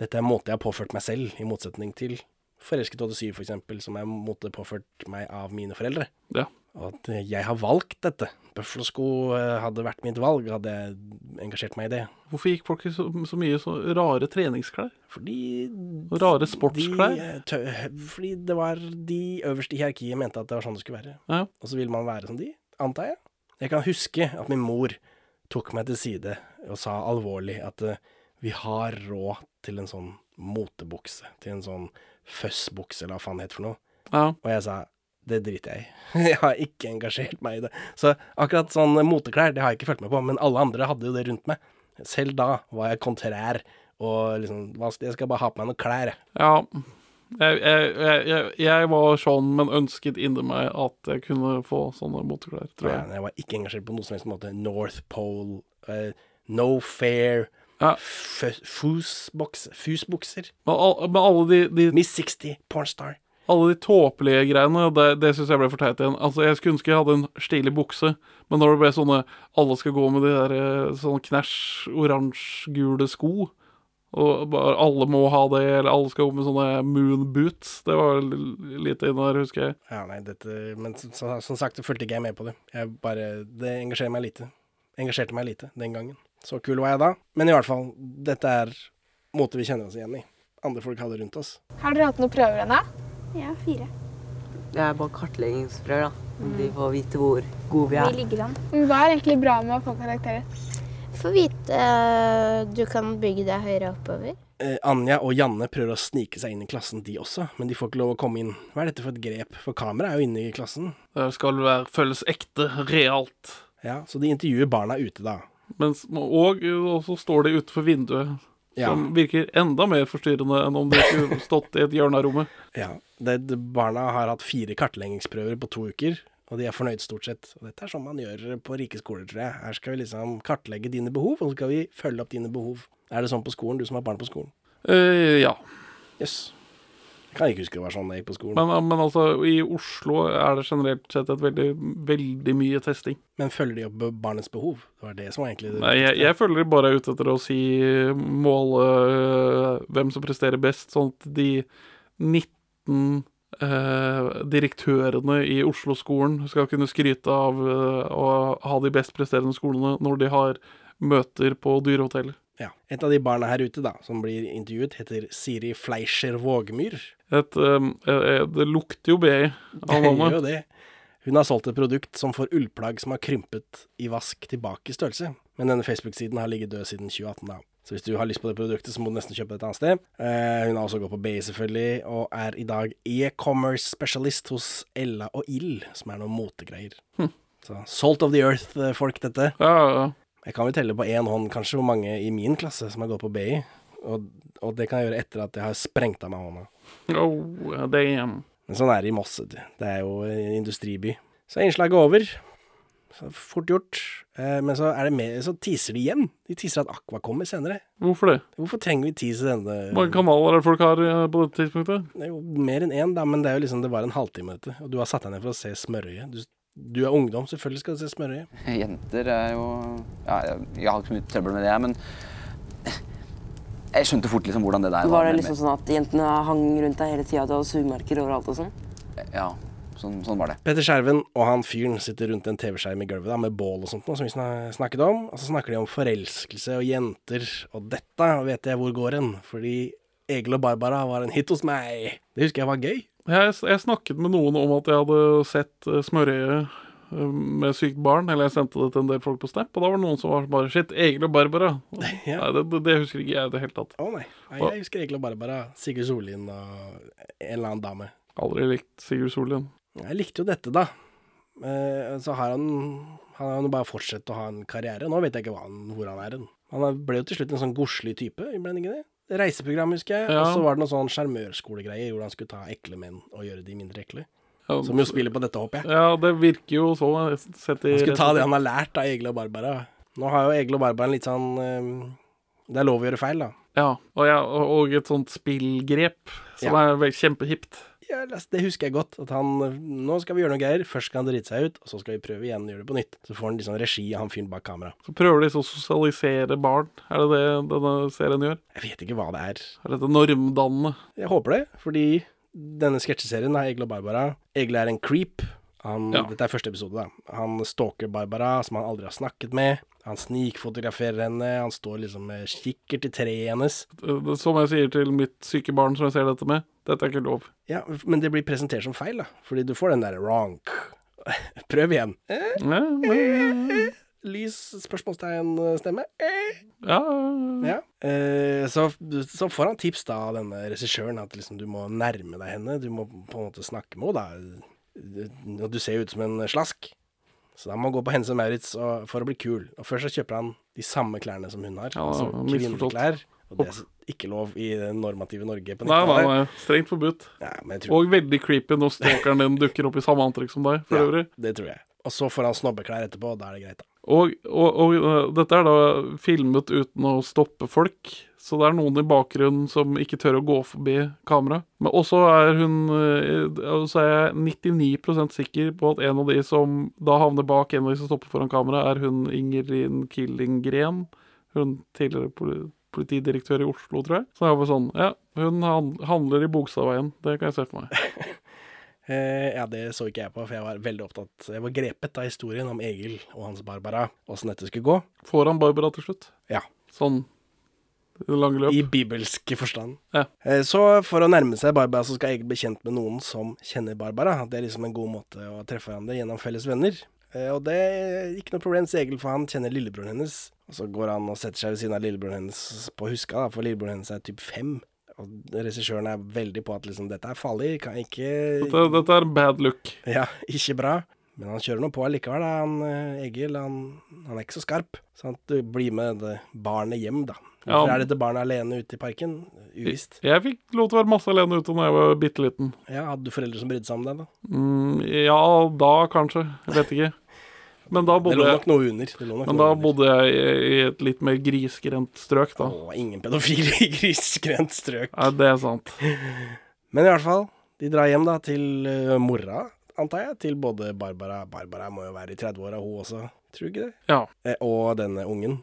Speaker 1: dette er en måte jeg har påført meg selv, i motsetning til Forelsket 87, for eksempel, som er en måte påført meg av mine foreldre.
Speaker 2: Ja.
Speaker 1: Og at jeg har valgt dette. Bøffelsko eh, hadde vært mitt valg, hadde jeg engasjert meg i det.
Speaker 2: Hvorfor gikk folk i så, så mye så rare treningsklær?
Speaker 1: Fordi
Speaker 2: Og rare
Speaker 1: de,
Speaker 2: sportsklær?
Speaker 1: eh, tø- fordi det var de øverste i hierarkiet mente at det var sånn det skulle være.
Speaker 2: Ja.
Speaker 1: Og så vil man være som de, antar jeg. Jeg kan huske at min mor tok meg til side og sa alvorlig at eh, vi har råd til en sånn motebukse, til en sånn føssbukse, eller hva faen det heter for noe.
Speaker 2: ja.
Speaker 1: Og jeg sa det driter jeg i. (laughs) Jeg har ikke engasjert meg i det. Så akkurat sånn moteklær, det har jeg ikke fulgt med på, men alle andre hadde jo det rundt meg. Selv da var jeg kontrær og liksom hva skal- Jeg skal bare ha på meg noen klær, jeg.
Speaker 2: ja. Jeg, jeg, jeg, jeg, jeg var sånn, men ønsket inni meg at jeg kunne få sånne moteklær, tror jeg.
Speaker 1: Jeg, jeg var ikke engasjert på noen som helst måte. North Pole, eh, No Fair,
Speaker 2: Ja.
Speaker 1: fø- fusboks- Fusbukser,
Speaker 2: Men, al, men alle de, de
Speaker 1: Miss 60, Pornstar.
Speaker 2: Alle de tåpelige greiene, det, det syns jeg ble for teit igjen. Altså, Jeg skulle ønske jeg hadde en stilig bukse, men når det ble sånne Alle skal gå med de der eh, sånn knæsj oransje-gule sko, og bare alle må ha det, eller alle skal gå med sånne moon boots Det var l- lite inne der, husker jeg.
Speaker 1: Ja, nei, dette Men som, som sagt, så fulgte ikke jeg med på det. Jeg bare Det engasjerer meg lite. Engasjerte meg lite den gangen. Så kul var jeg da. Men i hvert fall, dette er måter vi kjenner oss igjen i. Andre folk hadde rundt oss.
Speaker 7: Har dere hatt noen prøver ennå?
Speaker 10: Ja, fire.
Speaker 11: Det er bare kartleggingsprøver, da. De får vite hvor gode vi
Speaker 10: Vi
Speaker 11: er.
Speaker 10: ligger an.
Speaker 7: Men Hva er egentlig bra med å få karakterer?
Speaker 10: Få vite eh, du kan bygge deg høyere oppover.
Speaker 1: Eh, Anja og Janne prøver å snike seg inn i klassen, de også, men de får ikke lov å komme inn. Hva er dette for et grep? For kameraet er jo inne i klassen.
Speaker 2: Det skal være, føles ekte, realt.
Speaker 1: Ja, Så de intervjuer barna ute, da.
Speaker 2: Mens, og og så står de utenfor vinduet,
Speaker 1: Ja.
Speaker 2: som virker enda mer forstyrrende enn om de skulle stått i et hjørne av rommet.
Speaker 1: Ja, det, det- Barna har hatt fire kartleggingsprøver på to uker, og de er fornøyd stort sett. Og dette er sånn man gjør på rike skoler, tror jeg. Her skal vi liksom kartlegge dine behov, og så skal vi følge opp dine behov. Er det sånn på skolen, du som har barn på skolen?
Speaker 2: Eh, ja.
Speaker 1: Jøss. Jeg kan ikke huske det var sånn jeg gikk på skolen. Men,
Speaker 2: Men, men altså, i Oslo er det generelt sett et veldig, veldig mye testing.
Speaker 1: følger de opp be- barnets behov? Det var det som var egentlig det
Speaker 2: Nei, jeg, jeg føler de bare er ute etter å si måle øh, hvem som presterer best, sånn at de 19 øh, direktørene i Oslo-skolen skal kunne skryte av øh, å ha de best presterende skolene når de har møter på dyrehotellet.
Speaker 1: Ja. Et av de barna her ute, da, som blir intervjuet, heter Siri Fleischer Vågmyr.
Speaker 2: Et, øhm, eh, eh, det lukter jo BI av
Speaker 1: Det gjør (laughs)
Speaker 2: navnet.
Speaker 1: jo det. Hun har solgt et produkt som får ullplagg som har krympet i vask tilbake i størrelse. Men denne Facebook-siden har ligget død siden 2018, da. Så hvis du har lyst på det produktet, så må du nesten kjøpe det et annet sted. Eh, hun har også gått på BI, selvfølgelig, og er i dag e-commerce specialist hos Ella og Ild, som er noen motegreier. Så salt of the earth-folk, dette.
Speaker 2: Ja, ja, ja.
Speaker 1: Jeg kan vel telle på én hånd kanskje hvor mange i min klasse som har gått på BI, og, og det kan jeg gjøre etter at jeg har sprengt av meg hånda.
Speaker 2: Oh, damn.
Speaker 1: Men sånn er det i Moss. vet du. Det er jo en industriby. Så er innslaget over. Så fort gjort. Eh, men så, er det mer, så teaser de igjen. De teaser at Aqua kommer senere.
Speaker 2: Hvorfor det?
Speaker 1: Hvorfor trenger vi tease denne
Speaker 2: Hvor mange kanaler er det folk har eh, på dette tidspunktet?
Speaker 1: Det er jo mer enn én, da, men det er jo liksom det var en halvtime, dette. Og du har satt deg ned for å se smørøyet. Du, du er ungdom, selvfølgelig skal du se smørøyet.
Speaker 12: Jenter er jo ja, jeg, jeg har ikke så mye trøbbel med det, men jeg skjønte fort liksom hvordan det der
Speaker 11: Var det
Speaker 12: med-
Speaker 11: liksom sånn at jentene hang rundt deg hele tida, du hadde sugmerker overalt og sånn?
Speaker 12: Ja, sånn, sånn var det.
Speaker 1: Petter Skjerven og han fyren sitter rundt en TV-skjerm i gulvet da, med bål og sånt, noe som vi sna- snakket om. Og så snakker de om forelskelse og jenter, og dette vet jeg hvor går hen. Fordi Egil og Barbara var en hit hos meg. Det husker jeg var gøy.
Speaker 2: Jeg, jeg snakket med noen om at jeg hadde sett eh, Smørøyet eh, med sykt barn, eller jeg sendte det til en del folk på Snap, og da var det noen som var bare Shit, Egil og Barbara.
Speaker 1: (laughs) Ja.
Speaker 2: Nei, det, det- det husker ikke jeg i det hele tatt.
Speaker 1: Å nei. nei. Jeg husker egentlig bare bare Sigurd Sollien og en eller annen dame.
Speaker 2: Aldri likt Sigurd Sollien.
Speaker 1: Jeg likte jo dette, da. Eh, Så har han Han har jo bare fortsatt å ha en karriere. Nå vet jeg ikke hva han, hvor han er hen. Han er- ble jo til slutt en sånn godslig type, ble han ikke det? Reiseprogram, husker jeg.
Speaker 2: Ja.
Speaker 1: Og så var det noen sånn sjarmørskolegreier hvor han skulle ta ekle menn og gjøre de mindre ekle.
Speaker 2: Ja,
Speaker 1: Som jo spiller på dette, håper jeg.
Speaker 2: Ja, det virker jo så eh, sett i
Speaker 1: Han skulle ta det han har lært av Egil og Barbara. Nå har jo Egil og Barbara en litt sånn eh, Det er lov å gjøre feil, da.
Speaker 2: Ja, og, ja, og- og et sånt spillgrep som er vel kjempehipt.
Speaker 1: jeg leste, det husker jeg godt. At han Nå skal vi gjøre noe greier. Først skal han drite seg ut, og så skal vi prøve igjen og gjøre det på nytt. Så får han liksom regi av han fyren bak kamera.
Speaker 2: Så prøver de så å sosialisere barn. Er det det denne serien gjør?
Speaker 1: Jeg vet ikke hva det er.
Speaker 2: Er dette normdannende?
Speaker 1: Jeg håper det, fordi denne sketsjeserien er Egil og Barbara. Egil er en creep. Han,
Speaker 2: Ja.
Speaker 1: Dette er første episode, da. Han stalker Barbara, som han aldri har snakket med. Han snikfotograferer henne. Han står liksom med kikkert i treet hennes.
Speaker 2: Eh, Som jeg sier til mitt syke barn som jeg ser dette med, dette er ikke lov.
Speaker 1: Ja, men det blir presentert som feil, da. Fordi du får den derre wrong. (laughs) Prøv igjen. Eh,
Speaker 2: Ja, men-
Speaker 1: lys spørsmålstegn-stemme. Eh.
Speaker 2: ja.
Speaker 1: Ja. Eh, så, så får han tips da av denne regissøren at liksom, du må nærme deg henne. Du må på en måte snakke med henne, da. Eh, Og du ser jo ut som en slask. Så da må han gå på Hennes og Maurits og, for å bli kul. Og først så kjøper han de samme klærne som hun har.
Speaker 2: Ja,
Speaker 1: altså
Speaker 2: misforstått.
Speaker 1: kvinneklær. Og det er ikke lov i det normative Norge på
Speaker 2: Nei, nei,
Speaker 1: 90-tallet.
Speaker 2: nei. Strengt forbudt.
Speaker 1: Ja, men jeg tror
Speaker 2: Og veldig creepy når stalkeren din dukker opp i samme antrekk som deg. for øvrig.
Speaker 1: Det tror jeg. Og så får han snobbeklær etterpå, og da er det greit, da.
Speaker 2: Og, og, og øh, dette er da filmet uten å stoppe folk, så det er noen i bakgrunnen som ikke tør å gå forbi kamera. Men også er hun øh, Så er jeg 99 sikker på at en av de som da havner bak en av de som stopper foran kamera, er hun Ingelin Killengren. Hun tidligere poli- politidirektør i Oslo, tror jeg. Så jeg var sånn Ja, hun han- handler i Bogstadveien. Det kan jeg se for meg.
Speaker 1: Eh, ja, det så ikke jeg på, for jeg var veldig opptatt Jeg var grepet av historien om Egil og hans Barbara, åssen dette skulle gå.
Speaker 2: Får han Barbara til slutt?
Speaker 1: Ja.
Speaker 2: Sånn i det lange løp?
Speaker 1: I bibelsk forstand.
Speaker 2: Ja.
Speaker 1: Eh, Så for å nærme seg Barbara, så skal Egil bli kjent med noen som kjenner Barbara. Det er liksom en god måte å treffe hverandre gjennom felles venner. Eh, Og det er ikke noe problem, sier Egil, for han kjenner lillebroren hennes. Og så går han og setter seg ved siden av lillebroren hennes på Huska, da, for lillebroren hennes er typ fem. Og regissøren er veldig på at liksom, dette er farlig, kan ikke
Speaker 2: Dette, dette er en bad look.
Speaker 1: Ja, (laughs) ikke bra. Men han kjører nå på allikevel, da. Han, eh, Egil han, han er ikke så skarp. Så han du, blir med det barnet hjem, da.
Speaker 2: Ja.
Speaker 1: Hvorfor er dette barnet alene ute i parken? Uvisst.
Speaker 2: Jeg fikk lov til å være masse alene ute da jeg var bitte liten.
Speaker 1: Ja, hadde du foreldre som brydde seg om deg, da?
Speaker 2: Mm, ja, da kanskje. Jeg vet ikke. Men da
Speaker 1: det lå
Speaker 2: bodde
Speaker 1: nok noe under. Det lå nok
Speaker 2: men
Speaker 1: noe
Speaker 2: da
Speaker 1: under.
Speaker 2: bodde jeg i, i et litt mer grisgrendt strøk, da.
Speaker 1: Å, ingen pedofile i grisgrendt strøk.
Speaker 2: Nei, det er sant.
Speaker 1: Men i hvert fall, de drar hjem da til eh, mora, antar jeg. Til både Barbara Barbara må jo være i 30-åra, hun også, tror du ikke det?
Speaker 2: Ja.
Speaker 1: Eh, Og denne ungen.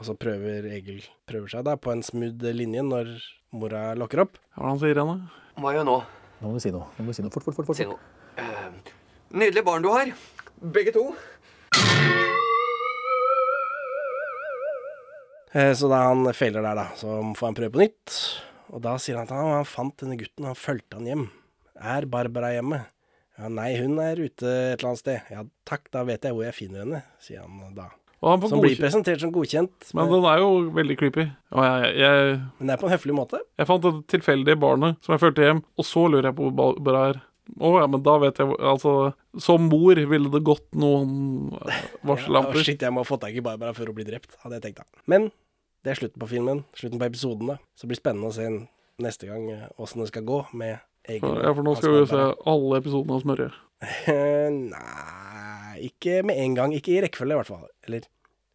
Speaker 1: Og så prøver Egil prøver seg da på en smooth linje når mora lokker opp.
Speaker 2: Hva er det han sier henne?
Speaker 5: Hva gjør jeg nå?
Speaker 13: Nå må du si noe. Nå må du si noe. Fort, fort, fort. fort.
Speaker 5: Si noe. Eh, Nydelige barn du har. Begge to.
Speaker 1: Eh, Så da han feiler der, da, så får han prøve på nytt. Og da sier han at han, han fant denne gutten, han fulgte han hjem. Er Barbara hjemme? Ja, nei, hun er ute et eller annet sted. Ja takk, da vet jeg hvor jeg finner henne, sier han da.
Speaker 2: Og han får
Speaker 1: Som blir
Speaker 2: godkjent-
Speaker 1: presentert som godkjent.
Speaker 2: Men den er jo veldig creepy. Og jeg, jeg,
Speaker 1: Men det er på en høflig måte.
Speaker 2: jeg fant det tilfeldige barnet som jeg førte hjem, og så lurer jeg på hvor Barbara er. Å ja, men da vet jeg hvor- Altså, som mor ville det gått noen eh,
Speaker 1: Ja,
Speaker 2: varsellamper.
Speaker 1: å, shit, jeg må ha fått tak i Barbara før hun blir drept, hadde jeg tenkt da. Men det er slutten på filmen, slutten på episoden da. Så det blir spennende å se neste gang eh, åssen det skal gå med Egil. og
Speaker 2: ja, for nå
Speaker 1: hans
Speaker 2: skal vi jo se
Speaker 1: Barbara.
Speaker 2: alle episodene av Smørje.
Speaker 1: Eh, Nei, ikke med en gang. Ikke i rekkefølge, i hvert fall. Eller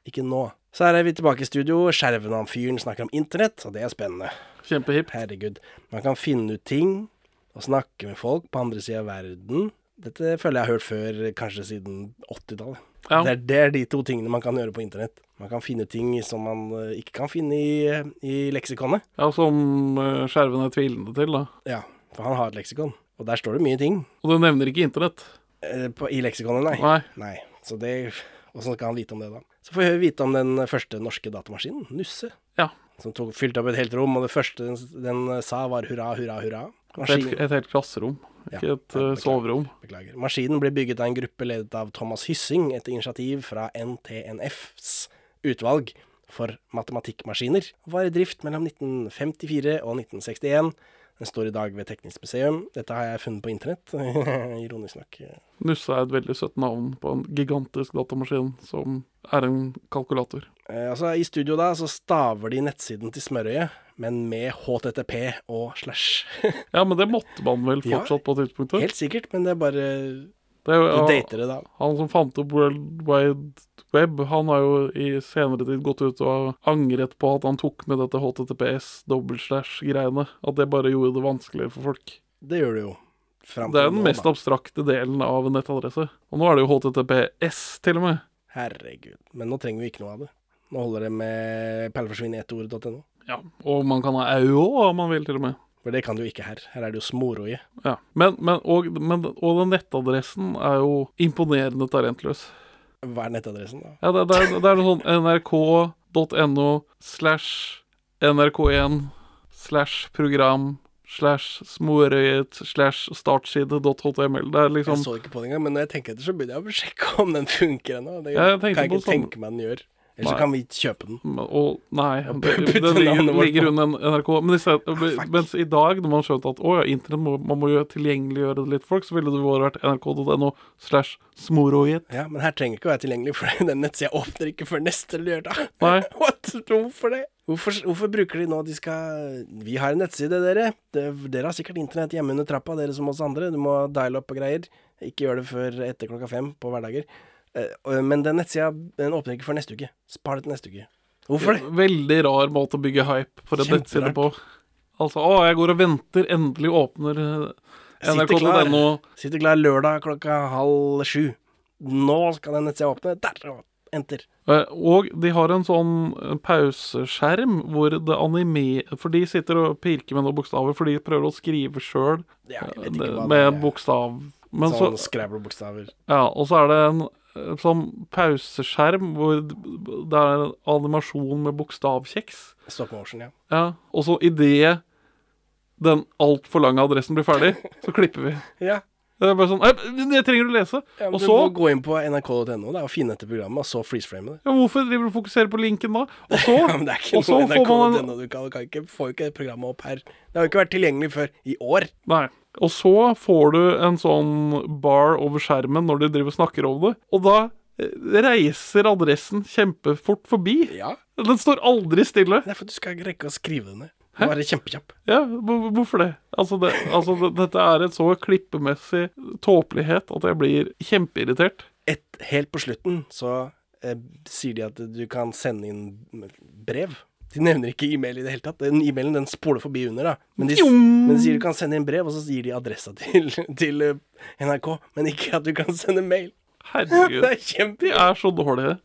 Speaker 1: ikke nå. Så her er vi tilbake i studio. Skjerven av fyren snakker om internett, og det er spennende.
Speaker 2: Kjempehipt.
Speaker 1: Herregud. Man kan finne ut ting og snakke med folk på andre sida av verden. Dette føler jeg har hørt før, kanskje siden 80-tallet.
Speaker 2: Ja.
Speaker 1: Det, er- det er de to tingene man kan gjøre på internett. Man kan finne ting som man eh, ikke kan finne i, eh, i leksikonet.
Speaker 2: Ja, som eh, skjerven er tvilende til, da.
Speaker 1: Ja, for han har et leksikon, og der står det mye ting.
Speaker 2: Og det nevner ikke internett.
Speaker 1: Eh, På, I leksikonet, nei.
Speaker 2: Nei.
Speaker 1: Så det Åssen skal han vite om det, da? Så får vi vite om den første norske datamaskinen, Nusse.
Speaker 2: Ja.
Speaker 1: Som tok, fylte opp et helt rom, og det første den, den eh, sa, var hurra, hurra, hurra.
Speaker 2: Et, helt- et helt klasserom, ikke et eh, soverom.
Speaker 1: Beklager. Maskinen ble bygget av en gruppe ledet av Thomas Hyssing etter initiativ fra NTNFs utvalg for matematikkmaskiner, og var i drift mellom 1954 og 1961. Den står i dag ved Teknisk museum. Dette har jeg funnet på internett, (laughs) ironisk nok.
Speaker 2: Nusse er et veldig søtt navn på en gigantisk datamaskin som er en kalkulator.
Speaker 1: Eh, altså, I studio da, så staver de nettsiden til Smørøyet, men med HTTP og slash. (laughs)
Speaker 2: Ja, men det måtte man vel
Speaker 1: Ja.
Speaker 2: fortsatt på tidspunktet?
Speaker 1: Helt sikkert, men det er bare
Speaker 2: Det er jo-
Speaker 1: Du dater det da.
Speaker 2: Han som fant opp World Wide Web, han har jo i senere tid gått ut og angret på at han tok med dette HTTPS dobbeltslash-greiene. At det bare gjorde det vanskeligere for folk.
Speaker 1: Det gjør det jo. Fram
Speaker 2: Det er
Speaker 1: til
Speaker 2: den
Speaker 1: nå,
Speaker 2: mest
Speaker 1: da.
Speaker 2: abstrakte delen av en nettadresse. Og nå er det jo HTTPS, til og med.
Speaker 1: Herregud. Men nå trenger vi ikke noe av det. Nå holder det med perleforsvinnetord.no.
Speaker 2: Ja, Og man kan ha AUO om man vil, til og med.
Speaker 1: For det kan du jo ikke her. Her er det jo smårøye.
Speaker 2: Ja, men, men, og, men og den nettadressen er jo imponerende talentløs.
Speaker 1: Hva er nettadressen, da?
Speaker 2: Ja, det, det, er- det er noe sånn nrk.no slash nrk1 slash program slash smorøyet slash startside.html. Det er liksom
Speaker 1: Jeg så ikke på det engang, men når jeg tenker etter, så begynner jeg å (laughs) sjekke om den funker ennå. Det
Speaker 2: Ja, jeg
Speaker 1: kan
Speaker 2: tenkte
Speaker 1: jeg
Speaker 2: på
Speaker 1: ikke
Speaker 2: samme-
Speaker 1: tenke meg den gjør. Eller så
Speaker 2: Nei.
Speaker 1: kan vi kjøpe den.
Speaker 2: Men- Og nei,
Speaker 1: Ja,
Speaker 2: det,
Speaker 1: putte
Speaker 2: det
Speaker 1: navnet
Speaker 2: ligger,
Speaker 1: vårt
Speaker 2: ligger
Speaker 1: på. Ah,
Speaker 2: under NRK. Men i stedet, mens i dag, når man skjønte at å ja, internett må, man må jo tilgjengeliggjøre det litt for folk, så ville det bare vært nrk.no slash smorøyet.
Speaker 1: Ja, Men her trenger ikke å være tilgjengelig, for (laughs) den nettsida åpner ikke før neste lørdag.
Speaker 2: Nei.
Speaker 1: (laughs) What? Hvorfor det? Hvorfor, hvorfor bruker de nå de skal Vi har en nettside, dere. Det- Dere har sikkert internett hjemme under trappa, dere som oss andre. Du må diale opp og greier. Ikke gjør det før etter klokka fem på hverdager. Eh, og- Men den nettsida den åpner ikke før neste uke. Spar det til neste uke. Hvorfor det?
Speaker 2: Veldig rar måte å bygge hype for en
Speaker 1: Kjemperart.
Speaker 2: nettside på. Altså, å, jeg går og venter, endelig åpner eh,
Speaker 1: Sitter klar.
Speaker 2: nrk.no.
Speaker 1: Sitter klar lørdag klokka halv sju. Nå skal den nettsida åpne. Der! og Enter.
Speaker 2: Eh, Og de har en sånn eh, pauseskjerm hvor det anime... For de sitter og pirker med noen bokstaver, for de prøver å skrive sjøl
Speaker 1: hva
Speaker 2: med bokstav. Men så,
Speaker 1: sånn Scrabble-bokstaver.
Speaker 2: ja, og så er det en eh, sånn pauseskjerm hvor d- det er en animasjon med bokstavkjeks.
Speaker 1: Stop motion, ja.
Speaker 2: Ja, Og så idet den altfor lange adressen blir ferdig, så klipper vi.
Speaker 1: Ja.
Speaker 2: Det er bare sånn «Nei, Jeg trenger å lese!
Speaker 1: Ja, men
Speaker 2: og
Speaker 1: du
Speaker 2: så
Speaker 1: må gå inn på nrk.no da, og finne etter programmet, og så freeze-frame det. (laughs)
Speaker 2: ja, Hvorfor driver du og fokuserer på linken da? Og så,
Speaker 1: Ja, men det er ikke
Speaker 2: og så
Speaker 1: noe
Speaker 2: får man en
Speaker 1: nrk.no du kan, kan ikke, får jo ikke det programmet opp her. Det har jo ikke vært tilgjengelig før i år.
Speaker 2: Nei. Og så får du en sånn bar over skjermen når du driver og snakker om det, og da eh, reiser adressen kjempefort forbi. Den står aldri stille.
Speaker 1: Det er for at du skal rekke å skrive det ned. Hæ? Være kjempekjapp.
Speaker 2: Ja, hvor- hvorfor det? Altså, det, altså det, dette er et så klippemessig tåpelighet at jeg blir kjempeirritert.
Speaker 1: Et, helt på slutten så eh, sier de at du kan sende inn brev. De nevner ikke e-mail i det hele tatt. Den e-mailen den spoler forbi under, da. Men de, s-
Speaker 2: Jong!
Speaker 1: men de sier du kan sende inn brev, og så gir de adressa til, (laughs) til eh, NRK, men ikke at du kan sende mail.
Speaker 2: Herregud.
Speaker 1: (laughs) Det er kjempe...
Speaker 2: De er så dårlige,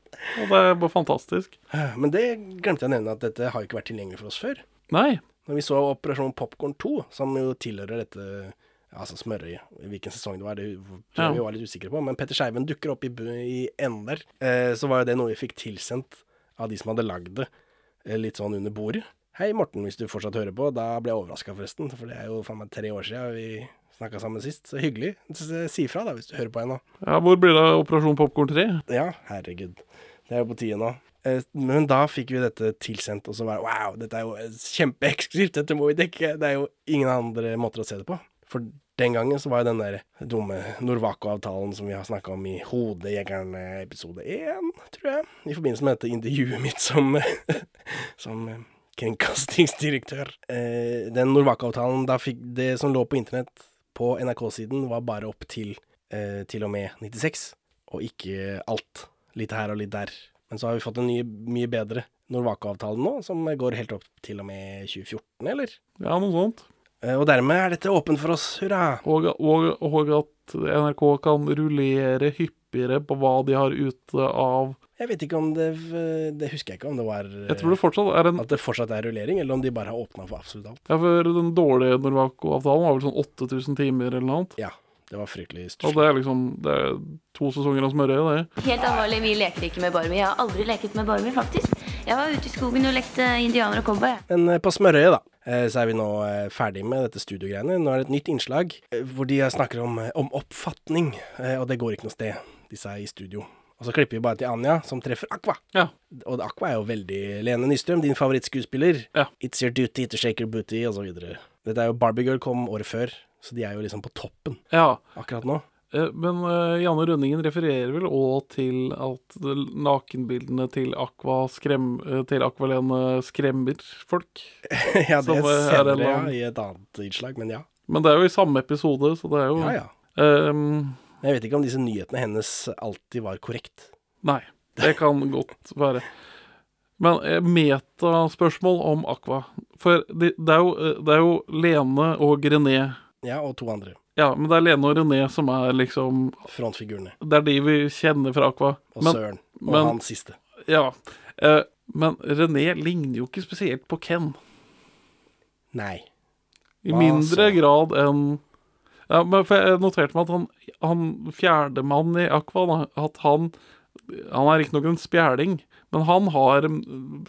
Speaker 2: og det er bare fantastisk.
Speaker 1: Eh, Men det glemte jeg å nevne at dette har jo ikke vært tilgjengelig for oss før.
Speaker 2: Nei.
Speaker 1: Når vi så Operasjon Popkorn 2, som jo tilhører dette altså smørøyet, hvilken sesong det var, det tror jeg
Speaker 2: Ja.
Speaker 1: vi var litt usikre på, men Petter Skeiven dukker opp i, bu- i enden der. Eh, så var jo det noe vi fikk tilsendt av de som hadde lagd det, eh, litt sånn under bordet. Hei, Morten, hvis du fortsatt hører på. Da ble jeg overraska, forresten, for det er jo faen meg tre år siden vi snakka sammen sist. Så hyggelig. S- Si ifra, da, hvis du hører på ennå.
Speaker 2: Ja, hvor blir det av Operasjon Popkorn 3?
Speaker 1: Ja, herregud. Det er jo på tide nå. Eh, Men da fikk vi dette tilsendt, og så var det wow, dette er jo eh, kjempeeksklusivt, dette må vi dekke. Det er jo ingen andre måter å se det på. For den gangen så var jo den der dumme Norwaco-avtalen som vi har snakka om i Hodejegerne episode én, tror jeg, i forbindelse med dette intervjuet mitt som, (laughs) som eh, kringkastingsdirektør. Eh, Den Norwaco-avtalen, da fikk det som lå på internett på NRK-siden, var bare opp til eh, til og med 96, og ikke alt. Litt her og litt der. Men så har vi fått en ny, mye bedre Norwaco-avtale nå, som går helt opp til og med 2014, eller?
Speaker 2: Ja, noe sånt.
Speaker 1: Eh, Og dermed er dette åpent for oss, hurra!
Speaker 2: Og, og, og at NRK kan rullere hyppigere på hva de har ute av
Speaker 1: Jeg vet ikke om det Det husker jeg ikke om det var eh,
Speaker 2: Jeg tror det fortsatt er en
Speaker 1: At det fortsatt er rullering, eller om de bare har åpna for absolutt alt.
Speaker 2: Ja, for den dårlige Norwaco-avtalen var vel sånn 8000 timer eller noe annet.
Speaker 1: Ja, det var fryktelig
Speaker 2: Og det er liksom det er to sesonger av smørøye, det.
Speaker 14: Helt alvorlig, vi leker ikke med Barbie. Jeg har aldri leket med Barbie, faktisk. Jeg var ute i skogen og lekte indianer og cowboy. jeg.
Speaker 1: Men eh, på Smørøyet, da, eh, så er vi nå eh, ferdig med dette studiogreiene. Nå er det et nytt innslag eh, hvor de snakker om, eh, om oppfatning, eh, og det går ikke noe sted. Disse er i studio. Og så klipper vi bare til Anja, som treffer Aqua. Og Aqua er jo veldig Lene Nystrøm, din favorittskuespiller. It's your duty to shake your booty, og så videre. Dette er jo Barbie Girl kom året før, så de er jo liksom på toppen
Speaker 2: Ja.
Speaker 1: akkurat nå. (laughs)
Speaker 2: Eh, Men eh, Janne Rønningen refererer vel òg til at nakenbildene til Aqua, skrem, eh, til Aqua Lene skremmer folk.
Speaker 1: ja,
Speaker 2: Som,
Speaker 1: det
Speaker 2: eh, er
Speaker 1: senere,
Speaker 2: en
Speaker 1: ja,
Speaker 2: annen-
Speaker 1: i et annet innslag, men ja.
Speaker 2: Men det er jo i samme episode, så det er jo
Speaker 1: Ja, ja.
Speaker 2: Ehm,
Speaker 1: Jeg vet ikke om disse nyhetene hennes alltid var korrekt.
Speaker 2: Nei, det kan godt være. Men eh, metaspørsmål om Aqua. For det, det, er jo, eh, det er jo Lene og René.
Speaker 1: Ja, og to andre.
Speaker 2: Ja, men det er Lene og René som er liksom
Speaker 1: Frontfigurene.
Speaker 2: Det er de vi kjenner fra Aqua.
Speaker 1: Og Søren. Og han siste.
Speaker 2: Ja. Eh, men René ligner jo ikke spesielt på Ken.
Speaker 1: Nei.
Speaker 2: I
Speaker 1: Hva
Speaker 2: mindre grad enn ja, men for Jeg noterte meg at han, han fjerdemann i Aqua, da, at han Han er riktignok en spjæling, men han har,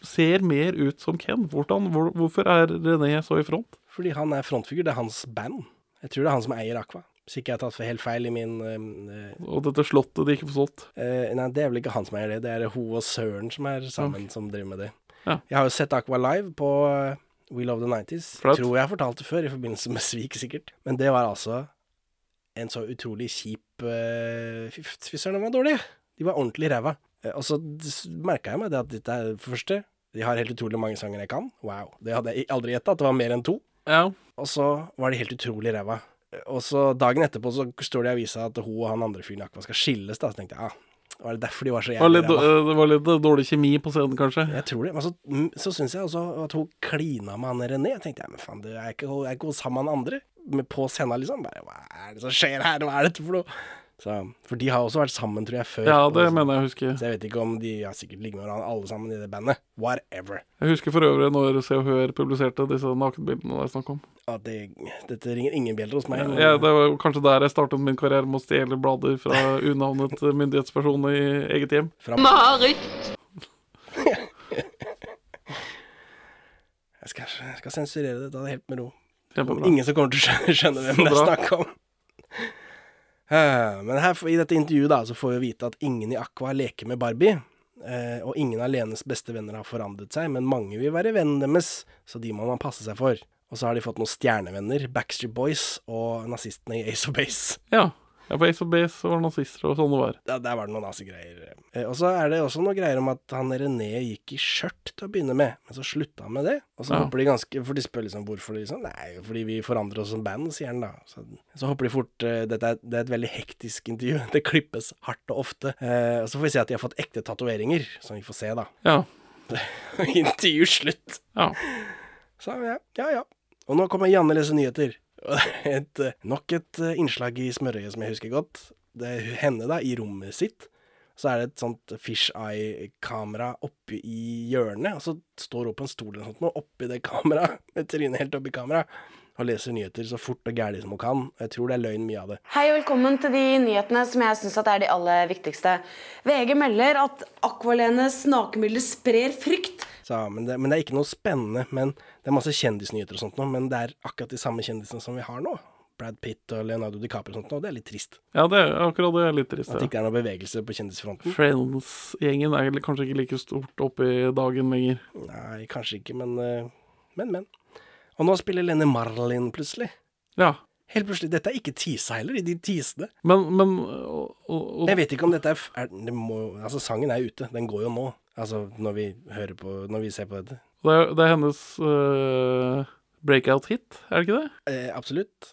Speaker 2: ser mer ut som Ken. Hvordan, hvor, hvorfor er René så i front?
Speaker 1: Fordi han er frontfigur, det er hans band. Jeg tror det er han som eier Aqua. Hvis ikke jeg har tatt for helt feil i min eh,
Speaker 2: Og dette slottet de ikke får solgt.
Speaker 1: eh, Nei, det er vel ikke han som eier det, det er hun og Søren som er sammen, som driver med det.
Speaker 2: Ja.
Speaker 1: Jeg har jo sett Aqua live på eh, We Love The 90s.
Speaker 2: Flaut.
Speaker 1: Tror jeg har fortalt det før, i forbindelse med Svik, sikkert. Men det var altså en så utrolig kjip eh, Fy f- fy søren, de var dårlige. De var ordentlig ræva. Eh, og så merka jeg meg det at dette er for det første De har helt utrolig mange sanger jeg kan. Wow. Det hadde jeg i- aldri gjetta, at det var mer enn to. Og så var de helt utrolig ræva. Eh, Og så dagen etterpå så står det i avisa at hun og han andre fyren i Aqua skal skilles, da. Så tenkte jeg, ah, var det derfor de var så
Speaker 2: Det var,
Speaker 1: jævlig
Speaker 2: litt,
Speaker 1: ræva?
Speaker 2: eh, det var litt dårlig kjemi på scenen, kanskje.
Speaker 1: Jeg tror det. Men så, mm, så syns jeg også at hun klina med han René. Jeg tenkte ja, men faen, du er ikke, hun er ikke hun sammen med han andre? Men på scenen, liksom. Bare, hva er det som skjer her? Hva er dette for noe? Så, for de har også vært sammen, tror jeg, før.
Speaker 2: Ja, det mener jeg å huske.
Speaker 1: Så jeg vet ikke om de har sikkert ligget med hverandre alle sammen i det bandet. Whatever.
Speaker 2: Jeg husker for øvrig når Se og Hør publiserte disse nakenbildene det er snakk om.
Speaker 1: Ja, det, dette ringer ingen bjeller hos meg.
Speaker 2: Ja, det var jo kanskje der jeg startet min karriere med å stjele blader fra (laughs) unavnet myndighetsperson i eget hjem.
Speaker 15: Marit!
Speaker 1: Jeg skal, jeg skal sensurere det, da er det helt med ro.
Speaker 2: Kjempebra.
Speaker 1: Ingen som kommer til å skjønne, (laughs) skjønne hvem
Speaker 2: Så
Speaker 1: det er
Speaker 2: bra.
Speaker 1: snakk om. (laughs) Eh, Men her, i dette intervjuet da, så får vi vite at ingen i Aqua leker med Barbie, eh, og ingen av Lenes beste venner har forandret seg, men mange vil være vennen deres, så de må man passe seg for. Og så har de fått noen stjernevenner, Backstreet Boys og nazistene i Ace of Base.
Speaker 2: Ja. Jeg var Ace of Base og var nazister og sånn det var.
Speaker 1: Ja, der var det noen nazigreier. Eh, Og så er det også noen greier om at han René gikk i skjørt til å begynne med, men så slutta han med det. Og så
Speaker 2: Ja.
Speaker 1: hopper de ganske For de spør liksom hvorfor de sånn Nei, fordi vi forandrer oss som band, sier han da. Så, så hopper de fort eh, Dette er, det er et veldig hektisk intervju. (laughs) Det klippes hardt og ofte. Eh, og så får vi se at de har fått ekte tatoveringer, som vi får se, da. (laughs)
Speaker 2: Ja.
Speaker 1: intervju slutt.
Speaker 2: Ja.
Speaker 1: Så ja, ja, ja. Og nå kommer Janne lese nyheter. Og det er Et, eh, nok et eh, innslag i smørøyet som jeg husker godt. Det er hu- henne, da, i rommet sitt. Så er det et sånt fish eye-kamera oppe i hjørnet, og så står hun på en stol eller noe sånt nå, oppi det kameraet, (laughs) med trynet helt oppi kameraet, og leser nyheter så fort og gæli som hun kan. Og Jeg tror det er løgn mye av det.
Speaker 16: Hei og velkommen til de nyhetene som jeg syns er de aller viktigste. VG melder at Aqualenes nakenbilder sprer frykt.
Speaker 1: Så, men, det, men det er ikke noe spennende. Men det er masse kjendisnyheter og sånt nå, men det er akkurat de samme kjendisene som vi har nå. Brad Pitt og Leonardo DiCaprio og sånt nå, det er litt trist.
Speaker 2: Ja, det er akkurat det er litt trist.
Speaker 1: At det
Speaker 2: Ja. Mm.
Speaker 1: ikke er noe bevegelse på kjendisfronten.
Speaker 2: Friends-gjengen er kanskje ikke like stort oppe i dagen lenger.
Speaker 1: Nei, kanskje ikke, men eh, Men, men. Og nå spiller Lene Marlin plutselig.
Speaker 2: Ja.
Speaker 1: Helt plutselig. Dette er ikke teasa heller, i de teasene.
Speaker 2: Men, men
Speaker 1: Jeg vet ikke om dette er, f- er det må, Altså, sangen er ute. Den går jo nå. Altså, når vi hører på Når vi ser på dette.
Speaker 2: Det er, det er hennes eh, breakout-hit, er det ikke det?
Speaker 1: Eh, absolutt.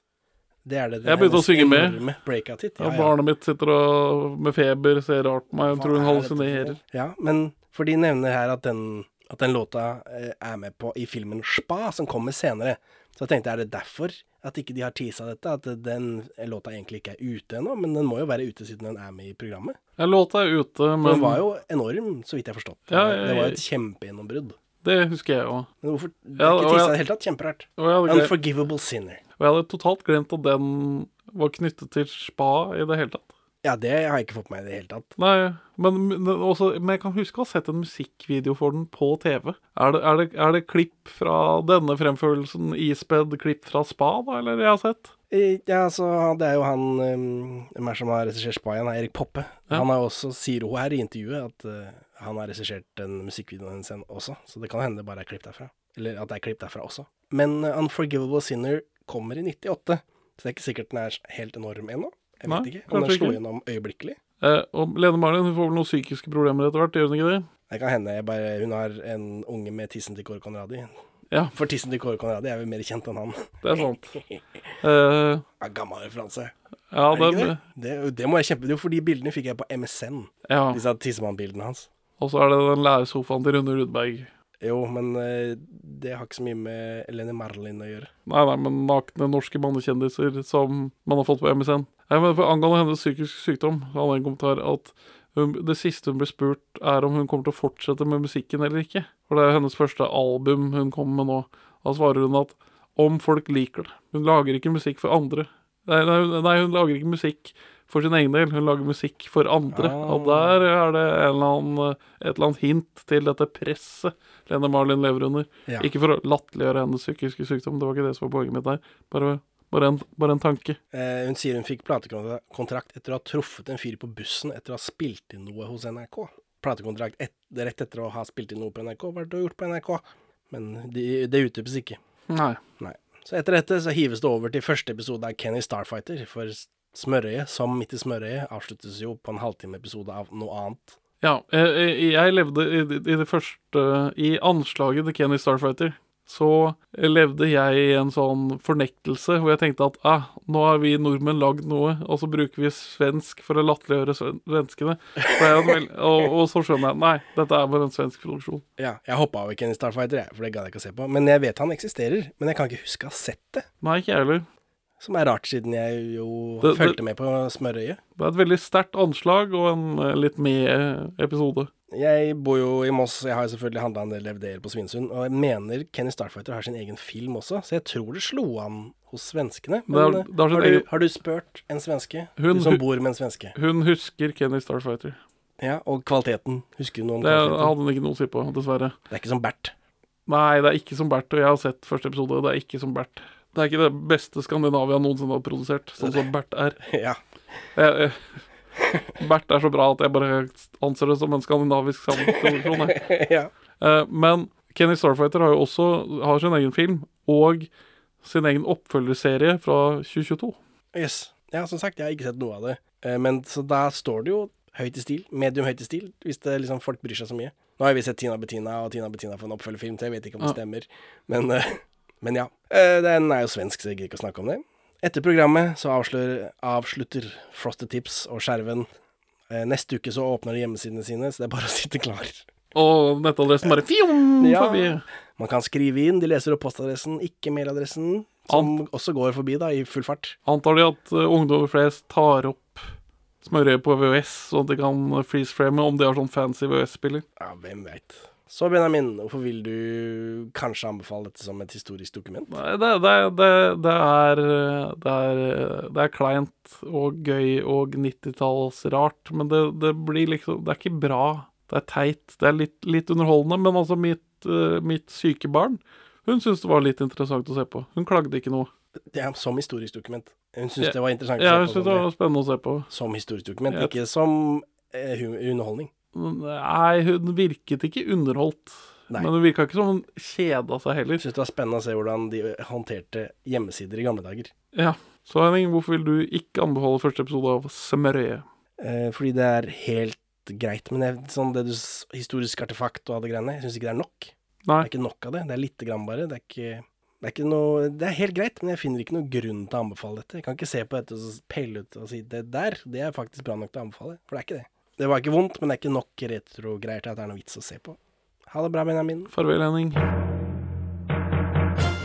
Speaker 1: Det er det. det
Speaker 2: Jeg begynte å synge med.
Speaker 1: Breakout hit.
Speaker 2: Ja, Barnet mitt sitter og, med feber, ser rart på meg, jeg tror hun hallusinerer.
Speaker 1: Ja, men for de nevner her at den, at den låta eh, er med på i filmen Spa, som kommer senere. Så jeg tenkte, er det derfor at ikke de har teasa dette? At den låta egentlig ikke er ute ennå, men den må jo være ute siden den er med i programmet.
Speaker 2: Ja, Låta er ute,
Speaker 1: For
Speaker 2: men
Speaker 1: Den var jo enorm, så vidt jeg har forstått.
Speaker 2: Ja,
Speaker 1: Det var- det var jo et
Speaker 2: jeg-
Speaker 1: kjempegjennombrudd.
Speaker 2: Det husker jeg òg.
Speaker 1: Men hvorfor det
Speaker 2: Ja,
Speaker 1: er ikke
Speaker 2: og jeg-
Speaker 1: teasa i det hele tatt? Kjemperart.
Speaker 2: Og jeg, hadde glemt,
Speaker 1: Unforgivable sinner.
Speaker 2: og jeg hadde totalt glemt at den var knyttet til spa i det hele tatt.
Speaker 1: Ja, det har jeg ikke fått med meg i det hele tatt.
Speaker 2: Nei, men, men, også, men jeg kan huske å ha sett en musikkvideo for den på TV. Er det, er det, er det klipp fra denne fremførelsen ispedd klipp fra spa, da, eller jeg har sett?
Speaker 1: I- Eh, Ja, så han- det er jo han um, hvem er det som har regissert Spayan, Erik Poppe.
Speaker 2: Ja.
Speaker 1: Han har også, sier hun her i intervjuet, at eh, han har regissert den musikkvideoen hennes igjen også. Så det kan hende det bare er klipp derfra. Eller at det er klipp derfra også. Men eh, Unforgivable Sinner kommer i 98, så det er ikke sikkert den er helt enorm ennå. Jeg vet
Speaker 2: Nei,
Speaker 1: ikke om
Speaker 2: kanskje
Speaker 1: den slo
Speaker 2: ikke.
Speaker 1: gjennom øyeblikkelig.
Speaker 2: Eh, og Lene Marlin hun får vel noen psykiske problemer etter hvert, gjør hun ikke det?
Speaker 1: Det kan hende jeg bare, hun har en unge med tissen til Kåre Conradi.
Speaker 2: Ja.
Speaker 1: For tissen til Kåre Conradi er vel mer kjent enn han. (laughs)
Speaker 2: Det er sant. Eh,
Speaker 1: Ja, gammel referanse.
Speaker 2: Ja,
Speaker 1: er det, ikke
Speaker 2: den-
Speaker 1: det? Det, det må jeg kjempe Det er jo for de bildene fikk jeg på MSN.
Speaker 2: Ja.
Speaker 1: Disse tissemannbildene hans.
Speaker 2: og så er det den lærersofaen til Rune Rudberg.
Speaker 1: Jo, men eh, det har ikke så mye med Eleni Marlin å gjøre.
Speaker 2: Nei, nei, men nakne norske mannekjendiser som man har fått på MSN. Nei, men for Angående hennes psykisk sykdom så hadde jeg en kommentar at hun, det siste hun ble spurt, er om hun kommer til å fortsette med musikken eller ikke. For det er hennes første album hun kommer med nå. Da svarer hun at om folk liker det. Hun lager ikke musikk for andre. Nei, nei, hun- nei hun lager ikke musikk for sin egen del, hun lager musikk for andre. Og der er det en eller annen, et eller annet hint til dette presset Lene Marlin lever under.
Speaker 1: Ja.
Speaker 2: Ikke for å latterliggjøre hennes psykiske sykdom, det var ikke det som var poenget mitt der. Bare, bare, en, bare en tanke.
Speaker 1: Eh, hun sier hun fikk platekontrakt etter å ha truffet en fyr på bussen etter å ha spilt inn noe hos NRK. Platekontrakt et, rett etter å ha spilt inn noe på NRK, hva er det du har gjort på NRK? Men de, det utdypes ikke.
Speaker 2: Nei.
Speaker 1: Nei. Så etter dette så hives det over til første episode av Kenny Starfighter, for Smørøyet, som midt i Smørøyet, avsluttes jo på en halvtime-episode av noe annet.
Speaker 2: Ja, jeg, jeg levde i, i det første I anslaget til Kenny Starfighter så levde jeg i en sånn fornektelse hvor jeg tenkte at ah, nå har vi nordmenn lagd noe, og så bruker vi svensk for å latterliggjøre sven- svenskene. Så jeg, hadde vel- og, og så skjønner jeg nei, dette er bare en svensk produksjon.
Speaker 1: Ja, jeg hoppa over Kenny Starfighter, jeg, for det gadd jeg ikke å se på. Men jeg vet han eksisterer, men jeg kan ikke huske å ha sett det.
Speaker 2: Nei, ikke jeg heller.
Speaker 1: Som er rart, siden jeg jo
Speaker 2: Det- det-
Speaker 1: fulgte med på Smørøyet.
Speaker 2: Det er et veldig sterkt anslag og en eh, litt med episode.
Speaker 1: Jeg bor jo i Moss, jeg har jo selvfølgelig handla en del DVD-er på Svinesund, og jeg mener Kenny Starfighter har sin egen film også, så jeg tror det slo an hos svenskene. Men
Speaker 2: Det har- det har
Speaker 1: har,
Speaker 2: sin
Speaker 1: du,
Speaker 2: egen-
Speaker 1: har du spurt en svenske,
Speaker 2: Hun-
Speaker 1: du som
Speaker 2: hun-
Speaker 1: bor med en svenske?
Speaker 2: Hun husker Kenny Starfighter.
Speaker 1: Ja, og kvaliteten. Husker du noe om
Speaker 2: Det hadde
Speaker 1: kvaliteten?
Speaker 2: hun ikke noe å si på, dessverre.
Speaker 1: Det er ikke som Bert. (laughs)
Speaker 2: Nei, det er ikke som Bert, og jeg har sett første episode, og det er ikke som Bert. Det er ikke det beste Skandinavia noensinne har produsert, sånn som Bert er.
Speaker 1: Ja.
Speaker 2: Jeg, jeg, (laughs) Bert er så bra at jeg bare anser det som en skandinavisk samproduksjon. jeg.
Speaker 1: (laughs) Ja.
Speaker 2: Eh, Men Kenny Starfighter har jo også har sin egen film, og sin egen oppfølgerserie fra 2022.
Speaker 1: Yes. Ja, som sagt, jeg har ikke sett noe av det. Eh, Men så da står det jo høyt i stil, medium høyt i stil, hvis det liksom folk bryr seg så mye. Nå har vi sett Tina Bettina og Tina Bettina for en oppfølgerfilm, så jeg vet ikke om det
Speaker 2: Ja.
Speaker 1: stemmer. Men, eh, men ja. Eh, Den er jo svensk, så jeg gidder ikke å snakke om det. Etter programmet så avslør, avslutter Frosted Tips og Skjerven. Eh, Neste uke så åpner de hjemmesidene sine, så det er bare å sitte klar.
Speaker 2: Og nettadressen bare fjom
Speaker 1: Ja.
Speaker 2: forbi.
Speaker 1: Man kan skrive inn, de leser opp postadressen, ikke mailadressen, som også går forbi da, i full fart.
Speaker 2: Antar de at eh, ungdommer flest tar opp smørøyet på VHS, sånn at de kan freeze-frame om de har sånn fancy VHS-spiller?
Speaker 1: Ja, hvem veit. Så Benjamin, hvorfor vil du kanskje anbefale dette som et historisk dokument?
Speaker 2: Nei, det, det, det, det, er, eh, det, er, eh, det er kleint og gøy og 90-tallsrart, men det, det blir liksom Det er ikke bra. Det er teit. Det er litt, litt underholdende, men altså, mitt, eh, mitt syke barn hun syntes det var litt interessant å se på. Hun klagde ikke noe.
Speaker 1: Ja, som historisk dokument. Hun syntes
Speaker 2: Ja.
Speaker 1: det var interessant
Speaker 2: Ja,
Speaker 1: å
Speaker 2: hun
Speaker 1: se
Speaker 2: syntes
Speaker 1: på.
Speaker 2: det var
Speaker 1: som
Speaker 2: spennende å se på.
Speaker 1: Som historisk dokument,
Speaker 2: Ja.
Speaker 1: ikke som eh, hu- underholdning.
Speaker 2: Nei, hun virket ikke underholdt.
Speaker 1: Nei.
Speaker 2: Men hun virka ikke som hun kjeda seg heller.
Speaker 1: Syns det var spennende å se hvordan de eh, håndterte hjemmesider i gamle dager.
Speaker 2: Ja. Så Henning, hvorfor vil du ikke anbefale første episode av Smørøyet?
Speaker 1: Eh, fordi det er helt greit, men jeg, sånn det du s- historisk artefakt og alle greiene, jeg syns ikke det er nok.
Speaker 2: Nei.
Speaker 1: Det er ikke nok av det. Det er lite grann bare. Det er ikke det er, ikke noe, det er helt greit, men jeg finner ikke noen grunn til å anbefale dette. Jeg kan ikke se på dette og så pelle ut og si det der, det er faktisk bra nok til å anbefale. For det er ikke det. Det var ikke vondt, men det er ikke nok retrogreier til at det er noe vits å se på. Ha det bra, Benjamin.
Speaker 2: Farvel, Henning.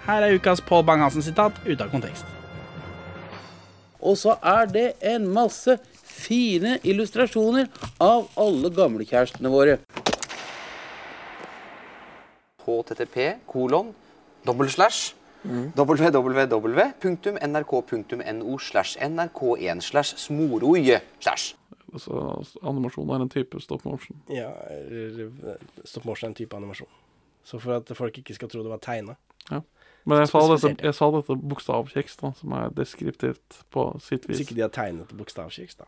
Speaker 1: Her er ukas Pål Bang-Hansen-sitat ute av kontekst.
Speaker 15: Og så er det en masse fine illustrasjoner av alle gamlekjærestene våre.
Speaker 12: HTTP, kolon, dobbel slash,
Speaker 15: Mm.
Speaker 12: www.nrk.no slash nrk1 slash smoroi slash.
Speaker 2: Altså, animasjon er en type stop motion.
Speaker 1: Ja, eller, eh, stop motion er en type animasjon. Så for at folk ikke skal tro det var tegna.
Speaker 2: Ja. Men jeg sa, dette, jeg sa dette bokstavkjeks, da, som er deskriptivt på sitt
Speaker 1: Hvis
Speaker 2: vis.
Speaker 1: ikke de har tegnet bokstavkjeks, da.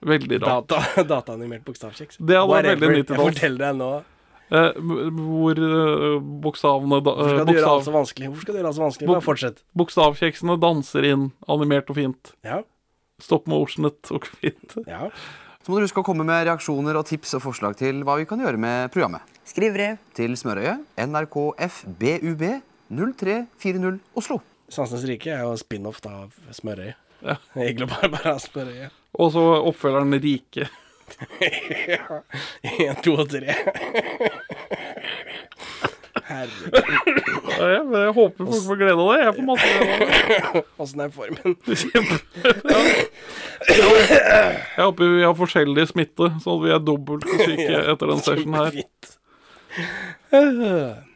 Speaker 2: Veldig rart.
Speaker 1: Data, (laughs) dataanimert bokstavkjeks.
Speaker 2: Det hadde vært
Speaker 1: Whatever.
Speaker 2: veldig nyttig
Speaker 1: Jeg forteller deg nå.
Speaker 2: Eh, m- hvor eh, bokstavene da,
Speaker 1: Hvorfor skal
Speaker 2: eh,
Speaker 1: du gjøre alt
Speaker 2: bokstav-
Speaker 1: så vanskelig? Hvorfor skal du gjøre alt så vanskelig?
Speaker 2: Bok-
Speaker 1: Bare fortsett.
Speaker 2: Bokstavkjeksene danser inn, animert og fint.
Speaker 1: Ja.
Speaker 2: Stop motionet og fint.
Speaker 12: Så må du huske å komme med reaksjoner og tips og forslag til hva vi kan gjøre med programmet.
Speaker 15: Skriv brev.
Speaker 12: Til Smørøyet, nrkfbub, 0340 Oslo.
Speaker 1: Sansenes rike er jo en spin-off da av Smørøyet. (laughs) Egentlig bare, bare av Smørøyet.
Speaker 2: Og så oppfølgeren Rike.
Speaker 1: ja. (laughs) En, to og tre. (laughs) Herregud.
Speaker 2: Ja, jeg, jeg håper folk får glede av det. Jeg får masse glede av det.
Speaker 1: Åssen er formen?
Speaker 2: Jeg håper vi har forskjellig smitte, sånn at vi er dobbelt så syke
Speaker 1: Ja,
Speaker 2: etter den sessionen her.
Speaker 1: kjempefint.